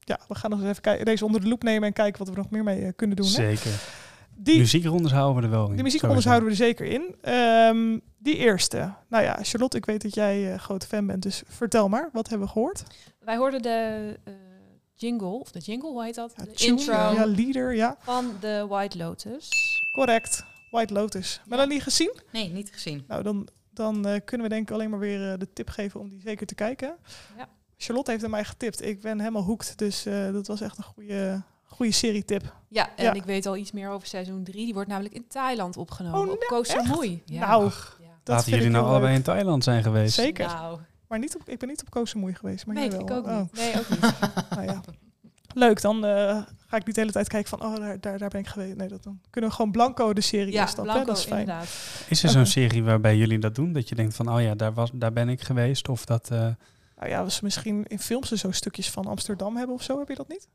B: ja, we gaan nog eens even kijken- deze onder de loep nemen en kijken wat we er nog meer mee eh, kunnen doen. Hè?
A: Zeker.
B: Die,
A: Muziekrondes houden we er wel in.
B: die muziek
A: sowieso.
B: onderhouden we er zeker in. Ehm, die eerste. Nou ja, Charlotte, ik weet dat jij eh, grote fan bent, dus vertel maar, wat hebben we gehoord?
C: Wij hoorden de eh, jingle, of de jingle, hoe heet dat?
B: Ja,
C: de
B: tune,
C: intro
B: Ja, leader, ja.
C: van The White Lotus.
B: Correct. White Lotus. Melanie gezien?
D: Nee, niet gezien.
B: Nou, dan, dan eh, kunnen we denk ik alleen maar weer eh, de tip geven om die zeker te kijken.
C: Ja.
B: Charlotte heeft hem mij getipt. Ik ben helemaal hooked, dus eh, dat was echt een goede, goede serietip.
C: Ja, en
B: Ja.
C: ik weet al iets meer over seizoen 3. Die wordt namelijk in Thailand opgenomen,
B: Oh,
C: op Koh Samui. Ja.
B: Nou,
C: Ja.
B: dat
A: Laten
B: vind
A: jullie
B: ik
A: nou
B: heel
A: allebei
B: leuk.
A: in Thailand zijn geweest.
B: Zeker.
C: Nou,
B: Maar niet op, ik ben niet op Koos Moei geweest. Maar
C: nee,
B: jij wel.
C: ik ook
B: Oh,
C: niet. Nee, ook niet.
B: nou ja. Leuk, dan eh, ga ik niet de hele tijd kijken van, oh, daar, daar, daar ben ik geweest. Nee, dat, dan kunnen we gewoon blanco de serie
C: Ja,
B: instappen. hè?
C: Blanco,
B: dat is fijn.
C: inderdaad.
A: Is er
B: Oké.
A: zo'n serie waarbij jullie dat doen? Dat je denkt van, oh ja, daar, was, daar ben ik geweest. Of dat... eh,
B: Nou ja, als ze misschien in films er zo stukjes van Amsterdam hebben of zo, heb je dat niet?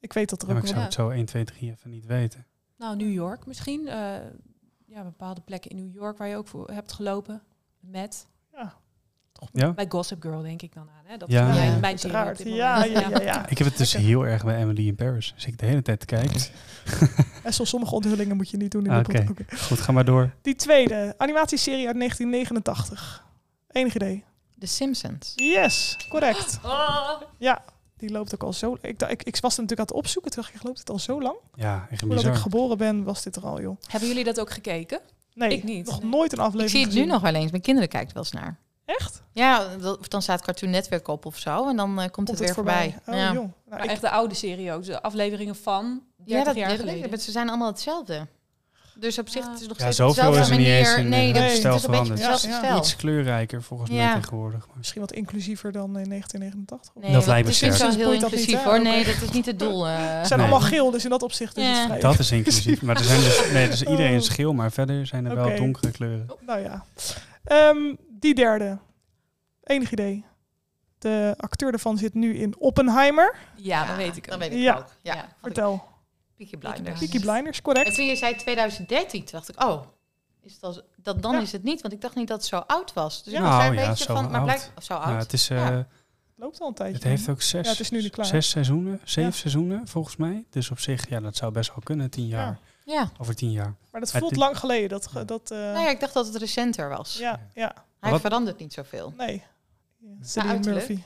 B: Ik weet dat er
A: ja,
B: ook
A: maar ik
B: wel-
A: zou het zo 1, 2, 3 even niet weten.
C: Nou, New York misschien. eh, ja, bepaalde plekken in New York waar je ook voor hebt gelopen. Met.
A: Ja?
C: Bij Gossip Girl denk ik dan aan. Hè? Dat
A: Ja.
C: is
D: Ja,
C: mijn, mijn serie op
B: Uiteraard.
C: dit
B: Ja,
C: moment.
B: ja, ja, ja.
A: Ik heb het dus
B: Lekker.
A: heel erg bij Emily in Paris. Dus ik de hele tijd te kijken.
B: En zoals sommige onthullingen moet je niet doen in de
A: Oké.
B: podcast. Oké.
A: Goed, ga maar door.
B: Die tweede, animatieserie uit 1989. Enig idee.
D: The Simpsons.
B: Yes, correct.
C: Ah.
B: Die loopt ook al zo... Ik, dacht- ik, ik was het natuurlijk aan het opzoeken. Toen dacht ik, loopt het al zo lang?
A: Ja, echt
B: Voordat ik
A: bizar.
B: geboren ben, was dit er al, joh.
C: Hebben jullie dat ook gekeken?
B: Nee,
C: Ik niet.
B: nog
C: Nee.
B: nooit een aflevering
D: Ik zie het nu
B: gezien.
D: nog wel eens. Mijn kinderen kijken er wel eens naar.
B: Echt?
D: Ja, dat- of dan staat Cartoon Network op of zo. En dan eh, komt, het
B: Komt
D: weer voorbij.
B: Oh,
D: ja.
B: joh. Nou,
C: Maar
B: ik,
C: echt de oude serie ook. De afleveringen van 30
D: ja, dat
C: jaar
D: dat-
C: geleden.
D: maar ze zijn allemaal hetzelfde. Dus op zich
C: Ah.
D: het is nog
A: Ja,
D: steeds op
A: zoveel
D: dezelfde
A: is er niet
D: manier.
A: eens in,
D: nee,
A: eh,
D: dat
B: het
D: is het
A: stijl
D: is een beetje
A: veranderd.
D: hetzelfde
B: Ja, ja.
D: stijl.
A: Iets kleurrijker volgens mij
D: Ja.
A: tegenwoordig. maar-
B: misschien wat inclusiever dan in 1989. of-
D: Nee,
A: Dat lijkt me
D: het is
A: sterk.
D: niet zo heel
B: Boeit dat niet,
D: inclusief
B: hè?
D: hoor.
B: Oké.
D: Nee, dat is niet het doel. eh.
B: Ze zijn
A: Nee.
B: allemaal geel, dus in dat opzicht is het
D: Ja.
B: vrij
A: Dat is inclusief. Maar er zijn dus, nee, dus iedereen is
B: Oh.
A: geel, maar verder zijn er
B: Oké.
A: wel donkere kleuren.
B: Nou ja. Ehm, die derde. Enig idee. De acteur ervan zit nu in Oppenheimer.
C: Ja, dat weet ik
D: Dan
C: ook.
D: weet ik
B: Ja.
D: het ook. Ja,
C: Ja.
D: had ik-
B: Vertel.
D: Peaky Blinders.
B: Peaky Blinders, correct.
D: En toen je zei 2013, toen dacht ik, oh, is het al, dat dan
B: Ja.
D: is het niet. Want ik dacht niet dat het zo oud was. Dus ik
A: Nou,
D: was daar een
A: ja,
D: beetje
A: zo
D: van, maar
A: oud.
D: blijkt oh, zo oud.
A: Ja, het, is, eh,
D: Ja.
B: Loopt al een tijdje.
A: het heeft ook zes,
B: Ja, het is nu niet klaar.
A: zes seizoenen, zeven
B: Ja.
A: seizoenen volgens mij. Dus op zich, ja, dat zou best wel kunnen, tien jaar.
B: Ja.
D: ja.
A: Over tien jaar.
B: Maar dat
A: Het
B: voelt
A: is-
B: lang geleden. Dat, ge- dat, eh,
D: Nou ja, ik dacht dat het recenter was.
B: ja, ja,
D: Hij
A: Wat-
D: verandert niet zoveel.
B: nee. Ja, Cillian
D: Nou, uiterlijk?
B: Murphy.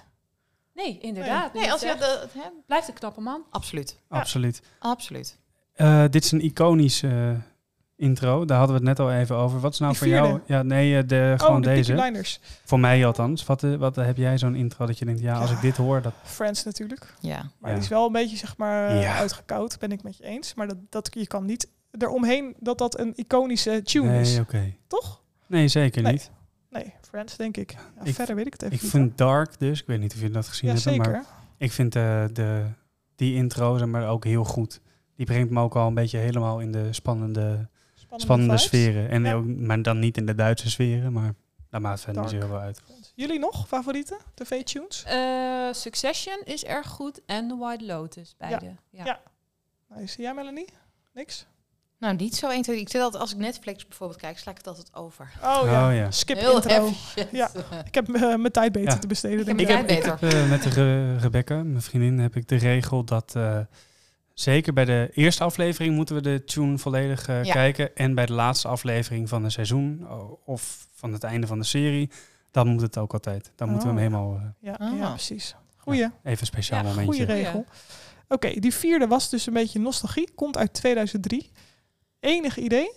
C: Nee, inderdaad.
D: Nee, als je
C: zegt,
D: dat... Hè?
C: Blijft een knappe man.
D: Absoluut.
B: Ja.
A: Absoluut.
D: Absoluut.
A: Eh, dit is een iconische eh, intro. Daar hadden we het net al even over. Wat is nou
B: Die
A: voor jou?
B: vierde.
A: Ja, nee, eh, de, gewoon
B: Oh, de Peaky
A: deze.
B: Blinders.
A: Voor mij althans. Wat, eh, wat heb jij zo'n intro dat je denkt, ja, als
B: Ja.
A: ik dit hoor, dat.
B: Friends natuurlijk.
D: Ja.
B: Maar
A: Ja.
B: die is wel een beetje zeg maar eh,
A: Ja.
B: uitgekoud. Ben ik met je eens. Maar dat, dat, je kan niet eromheen dat dat een iconische tune
A: nee,
B: is.
A: oké.
B: Toch?
A: Nee, zeker
B: Nee.
A: niet.
B: Nee, Friends denk ik. Ja,
A: Ik-
B: verder weet ik het even
A: Ik
B: niet.
A: vind Dark dus, ik weet niet of jullie dat gezien
B: ja,
A: hebben, maar
B: zeker.
A: Ik vind eh, de, die intro zeg maar ook heel goed. Die brengt me ook al een beetje helemaal in de spannende, spannende
B: vibes.
A: sferen. En
B: Ja.
A: ook, maar dan niet in de Duitse sferen, maar Dat maakt verder niet zo heel veel uit.
B: Jullie nog favoriete tv-tunes?
C: Eh, Succession is erg goed en The White Lotus, beide. Ja.
B: Ja. Nice. Jij, Melanie? Niks?
D: Nou, niet zo 1, 2, 3. Ik zit altijd, als ik Netflix bijvoorbeeld kijk, sla ik het altijd over.
B: Oh
A: Oh,
B: ja.
A: ja.
B: Skip
D: Heel
B: intro.
D: efficiënt.
B: Ja. Ik heb eh, mijn tijd beter
A: Ja.
B: te besteden.
D: Ik
B: Denk
D: heb
B: ik.
A: Ik
D: jij
A: heb, ik
D: beter?
A: heb, eh, met Re- Rebecca, mijn vriendin, heb ik de regel dat eh, zeker bij de eerste aflevering moeten we de tune volledig eh,
D: Ja.
A: kijken. En bij de laatste aflevering van een seizoen o- of van het einde van de serie, dan moet het ook altijd. Dan moeten we
B: Oh,
A: hem helemaal eh,
B: Ja,
D: Ah.
B: ja, precies. Goeie.
A: even een speciaal
C: Ja,
A: momentje.
B: Goede regel. Oké, die vierde was dus een beetje nostalgie. Komt uit 2003. Enig idee?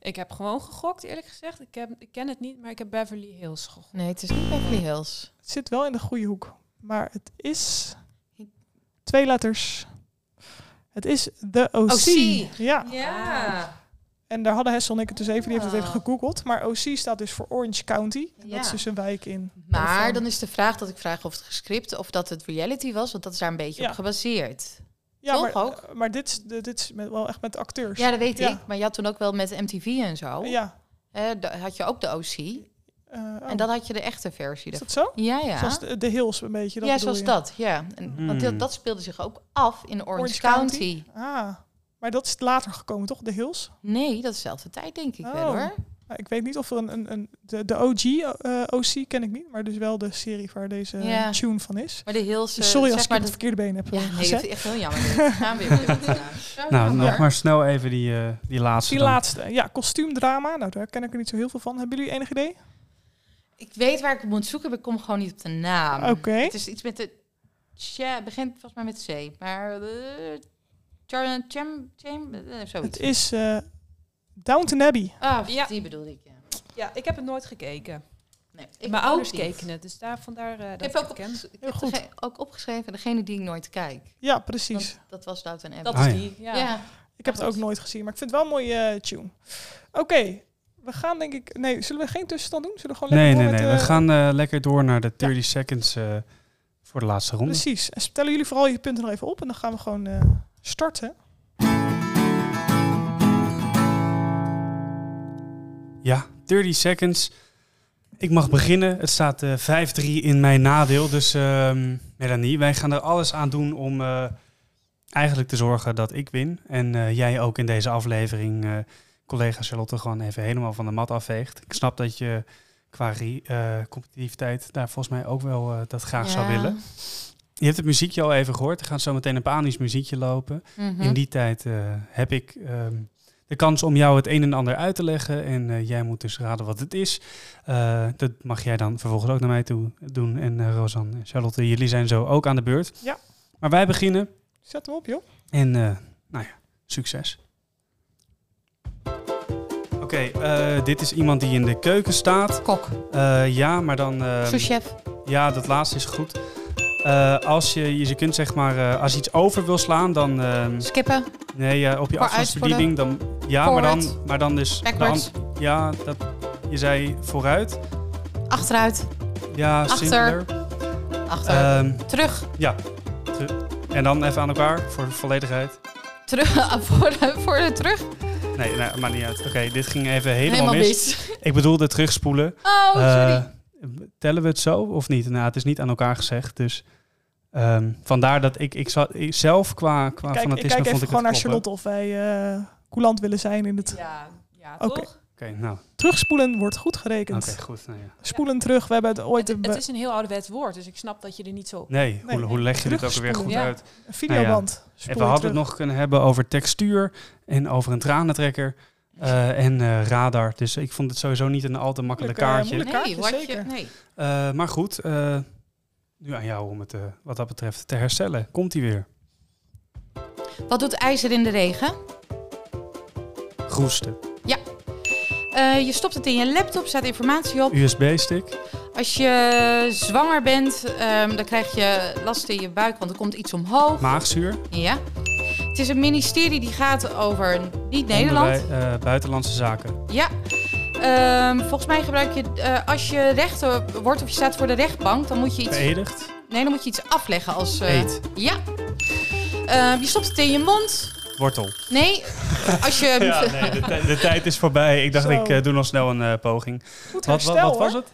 C: Ik heb gewoon gegokt, eerlijk gezegd. Ik, heb, ik ken het niet, maar ik heb Beverly Hills gegokt.
D: Nee, het is niet Beverly Hills.
B: Het zit wel in de goede hoek. Maar het is... Twee letters. Het is de OC.
D: OC.
B: Ja.
D: Ja.
B: En daar hadden Hessel en ik het dus even, die heeft het even
D: Ah.
B: gegoogeld. Maar OC staat dus voor Orange County. En
D: Ja.
B: dat is dus een wijk in.
D: Maar
B: Waarvan?
D: dan is de vraag dat ik vraag of het gescript of dat het reality was, want dat is daar een beetje
B: Ja.
D: op gebaseerd.
B: Ja,
D: Toch
B: maar, eh,
D: ook?
B: maar dit is, de- dit is met, wel echt met acteurs.
D: Ja, dat weet
B: Ja.
D: ik. Maar je had toen ook wel met MTV en zo.
B: Ja.
D: eh, da- had je ook de OC.
B: Eh, oh.
D: En dan had je de echte versie.
B: Is
D: daarvan.
B: dat zo?
D: Ja, ja.
B: Zoals de, de Hills een beetje. Dat
D: ja,
B: bedoel
D: zoals
B: je.
D: dat. Ja. En, Want
A: Hmm.
D: dat, dat speelde zich ook af in Orange,
B: Orange County?
D: County.
B: Ah, maar dat is later gekomen, toch? De Hills?
D: Nee, dat is dezelfde tijd, denk ik
B: Oh.
D: wel hoor.
B: Nou, ik weet niet of er een... een, een de, de OG eh, OC ken ik niet, maar dus wel de serie waar deze
D: Ja.
B: tune van is.
D: Maar de Hills.
B: Dus
D: eh,
B: sorry als
D: zeg
B: ik het
D: maar
B: op het
D: dat.
B: verkeerde been heb
D: Ja,
B: eh,
D: nee,
B: gezet.
D: dat is echt heel jammer. dit. Gaan we weer. Zo
A: Nou,
D: jammer.
A: nog maar snel even die, eh, die laatste.
B: Die
A: dan.
B: laatste. Ja, kostuumdrama. Nou, daar ken ik er niet zo heel veel van. Hebben jullie enig
A: Oh,
B: idee?
D: Ik weet waar ik het moet zoeken, maar ik kom gewoon niet op de naam.
B: Oké.
D: Het is iets met de. Ja, het begint volgens mij met C. Maar. eh, Jordan Cham. Cham. eh,
B: Het
D: Zoiets.
B: is eh Downton Abbey.
D: Ah,
C: Ja.
D: die bedoelde ik. Ja.
C: Ja, ik heb het nooit gekeken.
D: Nee, ik
C: Mijn
D: ook
C: ouders
D: niet.
C: keken het, dus daar, vandaar eh, dat
D: Ik
C: ik
D: heb ook,
C: het ken.
D: opges- ik
B: Heel
D: heb
B: goed.
D: dege- ook opgeschreven degene die ik nooit kijk.
B: Ja, precies.
D: Want dat was Dout en Abbey.
C: Dat
A: Ah,
C: is
A: ja.
C: die, ja.
D: ja.
B: ik heb het ook nooit gezien, maar ik vind het wel een mooie eh, tune. Oké, we gaan denk ik... Nee, zullen we geen tussenstand doen? Zullen we gewoon
A: Nee,
B: lekker
A: nee,
B: door
A: nee.
B: met,
A: We
B: eh,
A: gaan eh, lekker door naar de 30 seconds eh, voor de laatste ronde.
B: Precies. En stellen jullie vooral je punten nog even op en dan gaan we gewoon eh, starten.
A: Ja, 30 seconds. Ik mag beginnen. Het staat eh, 5-3 in mijn nadeel. Dus ehm Melanie, wij gaan er alles aan doen om eh, eigenlijk te zorgen dat ik win. En eh, jij ook in deze aflevering, eh, collega Charlotte, gewoon even helemaal van de mat afveegt. Ik snap dat je qua ri- eh, competitiviteit daar volgens mij ook wel eh, dat graag zou
D: Ja.
A: willen. Je hebt het muziekje al even gehoord. Er gaat zo meteen een panisch muziekje lopen.
D: Mhm.
A: In die tijd eh, heb ik ehm, de kans om jou het een en ander uit te leggen. En eh, jij moet dus raden wat het is. Eh, dat mag jij dan vervolgens ook naar mij toe doen. En eh Rosanne en Charlotte, jullie zijn zo ook aan de beurt.
B: Ja.
A: Maar wij beginnen.
B: Zet hem op, joh.
A: En eh, nou ja, succes. Oké, eh, dit is iemand die in de keuken staat.
D: Kok.
A: Eh, ja, maar dan... ehm,
D: Souschef.
A: ja, dat laatste is goed. Eh, als je, je kunt zeg maar, eh, als je iets over wil slaan, dan... ehm,
D: Skippen.
A: Nee, ja, op je
D: Vooruit,
A: afstandsbediening dan. Ja, maar
D: Forward.
A: dan, maar dan dus. de
D: Backwards.
A: hand- ja, dat, je zei vooruit.
D: Achteruit.
A: Ja,
D: Achter.
A: simpeler.
D: Achter.
A: Ehm,
D: terug.
A: en dan even aan elkaar voor de volledigheid.
D: Terug. voor, de, voor de terug.
A: Nee, nee maakt niet uit. Oké, dit ging even helemaal,
D: Helemaal
A: mis.
D: mis.
A: Ik bedoelde terugspoelen.
D: Oh, sorry.
A: Eh, tellen we het zo of niet? Nou, het is niet aan elkaar gezegd, dus. ehm, vandaar dat ik, ik, zat- ik zelf qua, qua
B: Kijk, ik
A: fanatisme
B: kijk
A: vond
B: even
A: ik
B: gewoon
A: het
B: naar
A: kloppen.
B: Charlotte of wij eh coulant willen zijn in het...
C: Ja, ja
B: Oké.
C: toch?
A: Oké, nou,
B: Terugspoelen wordt goed
A: oké,
B: gerekend.
A: goed. Nou, ja.
B: Spoelen terug, we hebben het ooit...
C: Het,
B: een
C: het
B: be-
C: is een heel ouderwets woord, dus ik snap dat je er niet zo...
A: Nee,
B: Nee.
A: Hoe, hoe leg je dit ook weer goed
B: Terugspoelen.
A: uit?
B: een videoband.
A: Nou En
B: Spoelen
A: we hadden
B: terug.
A: het nog kunnen hebben over textuur en over een tranentrekker eh, en eh, radar. Dus ik vond het sowieso niet een al te makkelijk
B: Moeilijk, eh,
A: kaartje.
B: moeilijk. kaartje,
D: wat je-
B: zeker.
D: nee.
A: Eh, maar goed, eh, nu aan jou om het eh, wat dat betreft te herstellen. Komt hij weer?
D: Wat doet ijzer in de regen?
A: Groesten.
D: Eh, je stopt het in je laptop, staat informatie op.
A: USB-stick.
D: Als je zwanger bent, ehm, dan krijg je last in je buik, want er komt iets omhoog.
A: Maagzuur.
D: Ja. Het is een ministerie die gaat over niet-Nederland.
A: onderwij- eh, buitenlandse zaken.
D: Ja. Ehm, volgens mij gebruik je, eh, als je rechter wordt of je staat voor de rechtbank, dan moet je iets,
A: Beëdigd.
D: nee, dan moet je iets afleggen als... eh,
A: Eet.
D: ja. Ehm, je stopt het in je mond.
A: Wortel.
D: Nee, als je...
A: Ja, nee, de, tij- de tijd is voorbij. Ik dacht,
B: Zo.
A: ik eh, doe nog snel een eh, poging.
B: Goed
A: Wat,
B: herstel
A: wat, wat
B: hoor.
A: was het?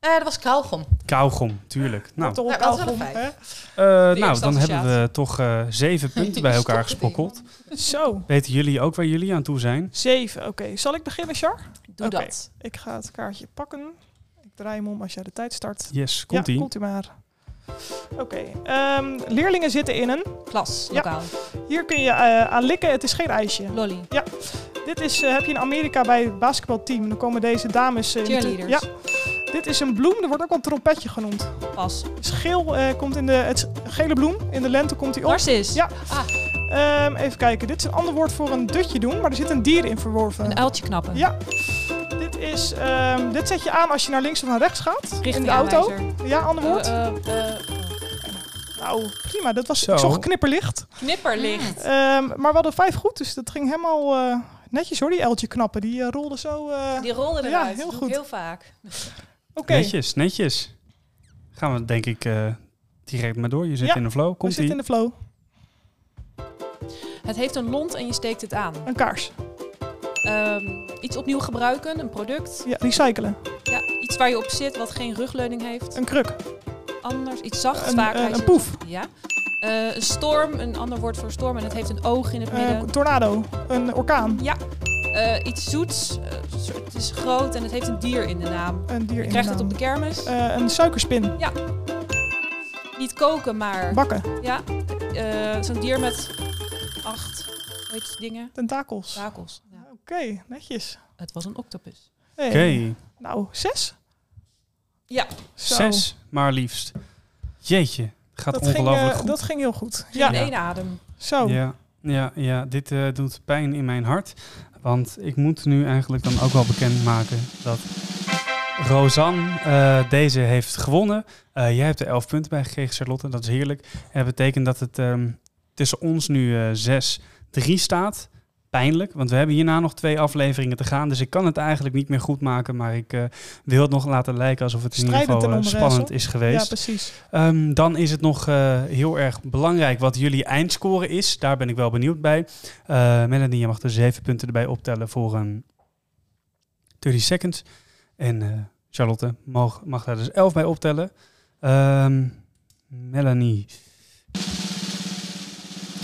D: Eh, dat was kauwgom.
A: Kauwgom, tuurlijk. Nou,
B: Toch
D: Nou,
B: wel
D: dat is wel
B: goed,
D: een
B: hè?
A: eh, nou
C: eerste
A: dan hebben
C: associatie.
A: we toch eh, zeven punten bij elkaar
D: Stoppen die.
A: gesprokkeld.
B: Zo,
A: Weten jullie ook waar jullie aan toe zijn?
B: zeven. Oké, zal ik beginnen, Char?
C: Doe
B: Oké.
C: dat.
B: Ik ga het kaartje pakken. Ik draai hem om als jij de tijd start.
A: Yes, komt ie.
B: ja, komt u maar. Oké, ehm, leerlingen zitten in een.
C: Klas,
B: Ja.
C: lokaal.
B: Hier kun je eh, aan likken, het is geen ijsje.
C: Lolly.
B: Dit is, eh, heb je in Amerika bij het basketbalteam. Dan komen deze dames... eh, in de-
C: Cheerleaders.
B: ja. Dit is een bloem, er wordt ook al een trompetje genoemd.
C: Pas.
B: Dus geel eh, komt in de... Het is een gele bloem, in de lente komt hij op.
C: Narcis.
B: Ja.
C: Ah,
B: Ehm, even kijken, dit is een ander woord voor een dutje doen, maar er zit een dier in verworven.
C: een uiltje knappen.
B: Ja. Dit is... ehm, dit zet je aan als je naar links of naar rechts gaat. in de auto.
C: Richtingaanwijzer.
B: Ja, ander woord.
C: Eh, eh, eh,
B: nou, prima. Dat was
A: Zo.
B: ik zocht knipperlicht.
C: knipperlicht.
B: Ehm, maar we hadden vijf goed, dus dat ging helemaal eh, netjes hoor. Die eltje knappen, die eh, rolde zo. eh,
C: Die rolde eruit.
B: Ja, heel
C: Dat doe ik
B: goed.
C: heel vaak.
B: Oké,
A: Netjes, netjes. Gaan we denk ik eh, direct maar door. Je zit
B: Ja,
A: in de flow.
B: we
A: Komt
B: zitten
A: ie.
B: in de flow.
C: Het heeft een lont en je steekt het aan.
B: Een kaars.
C: Ehm, iets opnieuw gebruiken, een product.
B: Ja, recyclen.
C: Ja, iets waar je op zit wat geen rugleuning heeft.
B: Een kruk.
C: Anders, iets zachts
B: Een-
C: vaak.
B: een-
C: Hij
B: een
C: zit-
B: poef.
C: Ja. Eh, een storm, een ander woord voor storm. En het heeft een oog in het
B: Een
C: midden.
B: tornado. Een orkaan.
C: Eh, iets zoets. eh, een soort- het is groot en het heeft een dier in de naam.
B: Een dier
C: Je
B: in
C: krijgt
B: de
C: het
B: naam.
C: op de kermis.
B: Eh, Een suikerspin.
C: Niet koken, maar...
B: Bakken.
C: Ja, eh, zo'n dier met acht hoe heet die dingen.
B: Tentakels. Oké,
C: Takels. Ja.
B: Oh. netjes.
C: Het was een octopus.
B: Hey.
A: Oké,
B: Nou, zes?
C: Ja.
B: Zo.
A: zes maar liefst. Jeetje, gaat
B: Dat ging,
A: ongelooflijk
B: eh,
A: goed.
B: dat ging heel goed.
C: Ja.
B: Ja,
C: In één adem.
B: zo.
A: Ja, ja, ja dit eh, doet pijn in mijn hart. Want ik moet nu eigenlijk dan ook wel bekendmaken dat Rosanne eh, deze heeft gewonnen. Eh, jij hebt er 11 punten bij gekregen, Charlotte. Dat is heerlijk. En dat betekent dat het ehm, tussen ons nu eh 6-3 staat. Pijnlijk, want we hebben hierna nog twee afleveringen te gaan. Dus ik kan het eigenlijk niet meer goed maken. Maar ik eh, wil het nog laten lijken alsof het in ieder
B: Strijdend
A: geval
B: en
A: eh,
B: onderwijs,
A: spannend
B: hoor.
A: is
B: Ja,
A: geweest.
B: precies.
A: Ehm, dan is het nog eh, heel erg belangrijk wat jullie eindscore is. Daar ben ik wel benieuwd bij. Eh Melanie, je mag er zeven punten erbij optellen voor een 30 seconds. En eh, Charlotte mag, mag daar dus 11 bij optellen. Ehm, Melanie,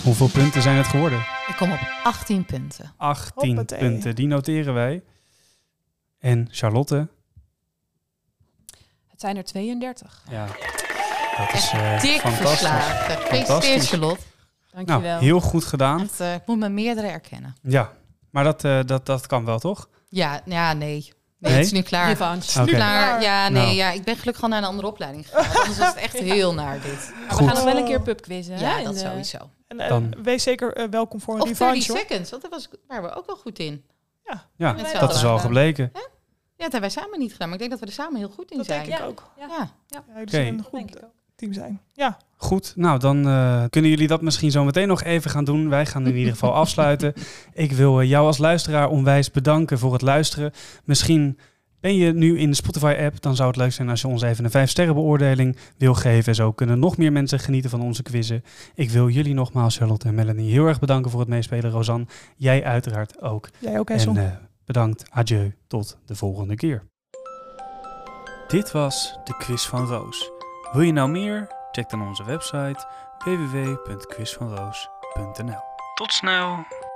A: hoeveel punten zijn het geworden?
D: Ik kom op 18 punten.
A: 18
B: Hoppatee.
A: punten, die noteren wij. En Charlotte,
C: Het zijn er 32.
A: ja, dat is eh,
D: Dik
A: fantastisch.
D: verslagen. Gefeliciteerd,
A: Fantastisch.
D: Charlotte.
A: Nou,
C: Dankjewel.
A: heel goed gedaan.
D: Echt, eh, ik moet me meerdere erkennen.
A: Ja, maar dat, eh, dat, dat kan wel, toch?
D: Ja, nou ja nee. Nee,
A: Nee?
D: het is nu klaar. Het
C: Revanche.
D: is
A: Oké.
D: nu klaar. Ja, nee,
A: Nou.
D: ja, ik ben gelukkig al naar een andere opleiding gegaan. want Anders was het echt heel naar dit.
C: Maar
A: Goed.
C: We gaan nog wel een keer pubquizzen. hè,
D: Ja,
C: in
D: dat
C: de-
D: sowieso.
B: En, eh,
A: Dan-
B: wees zeker eh, welkom voor een
D: Of 30
B: revanche hoor.
D: seconds, want daar was, waren we ook wel goed in.
A: Ja,
D: Met z'n
A: dat is
D: allen.
A: al gebleken.
D: Ja, dat hebben wij samen niet gedaan, maar ik denk dat we er samen heel goed in
B: Dat
D: zijn.
B: denk ik
C: Ja.
B: ook.
C: ik.
D: Ja.
B: Ja, jullie zijn een
C: Dat denk
B: goed
C: ik ook.
B: team zijn. Ja,
A: Goed, nou dan eh, kunnen jullie dat misschien zo meteen nog even gaan doen. Wij gaan in ieder geval afsluiten. Ik wil eh, jou als luisteraar onwijs bedanken voor het luisteren. Misschien ben je nu in de Spotify-app. Dan zou het leuk zijn als je ons even een 5-sterren beoordeling wil geven. Zo kunnen nog meer mensen genieten van onze quizzen. Ik wil jullie nogmaals, Charlotte en Melanie, heel erg bedanken voor het meespelen. Rosanne, jij uiteraard ook.
B: jij ook Hessel.
A: En eh, bedankt, adieu, tot de volgende keer. Dit was de Quiz van Roos. Wil je nou meer? Check dan onze website www.quizvanroos.nl Tot snel!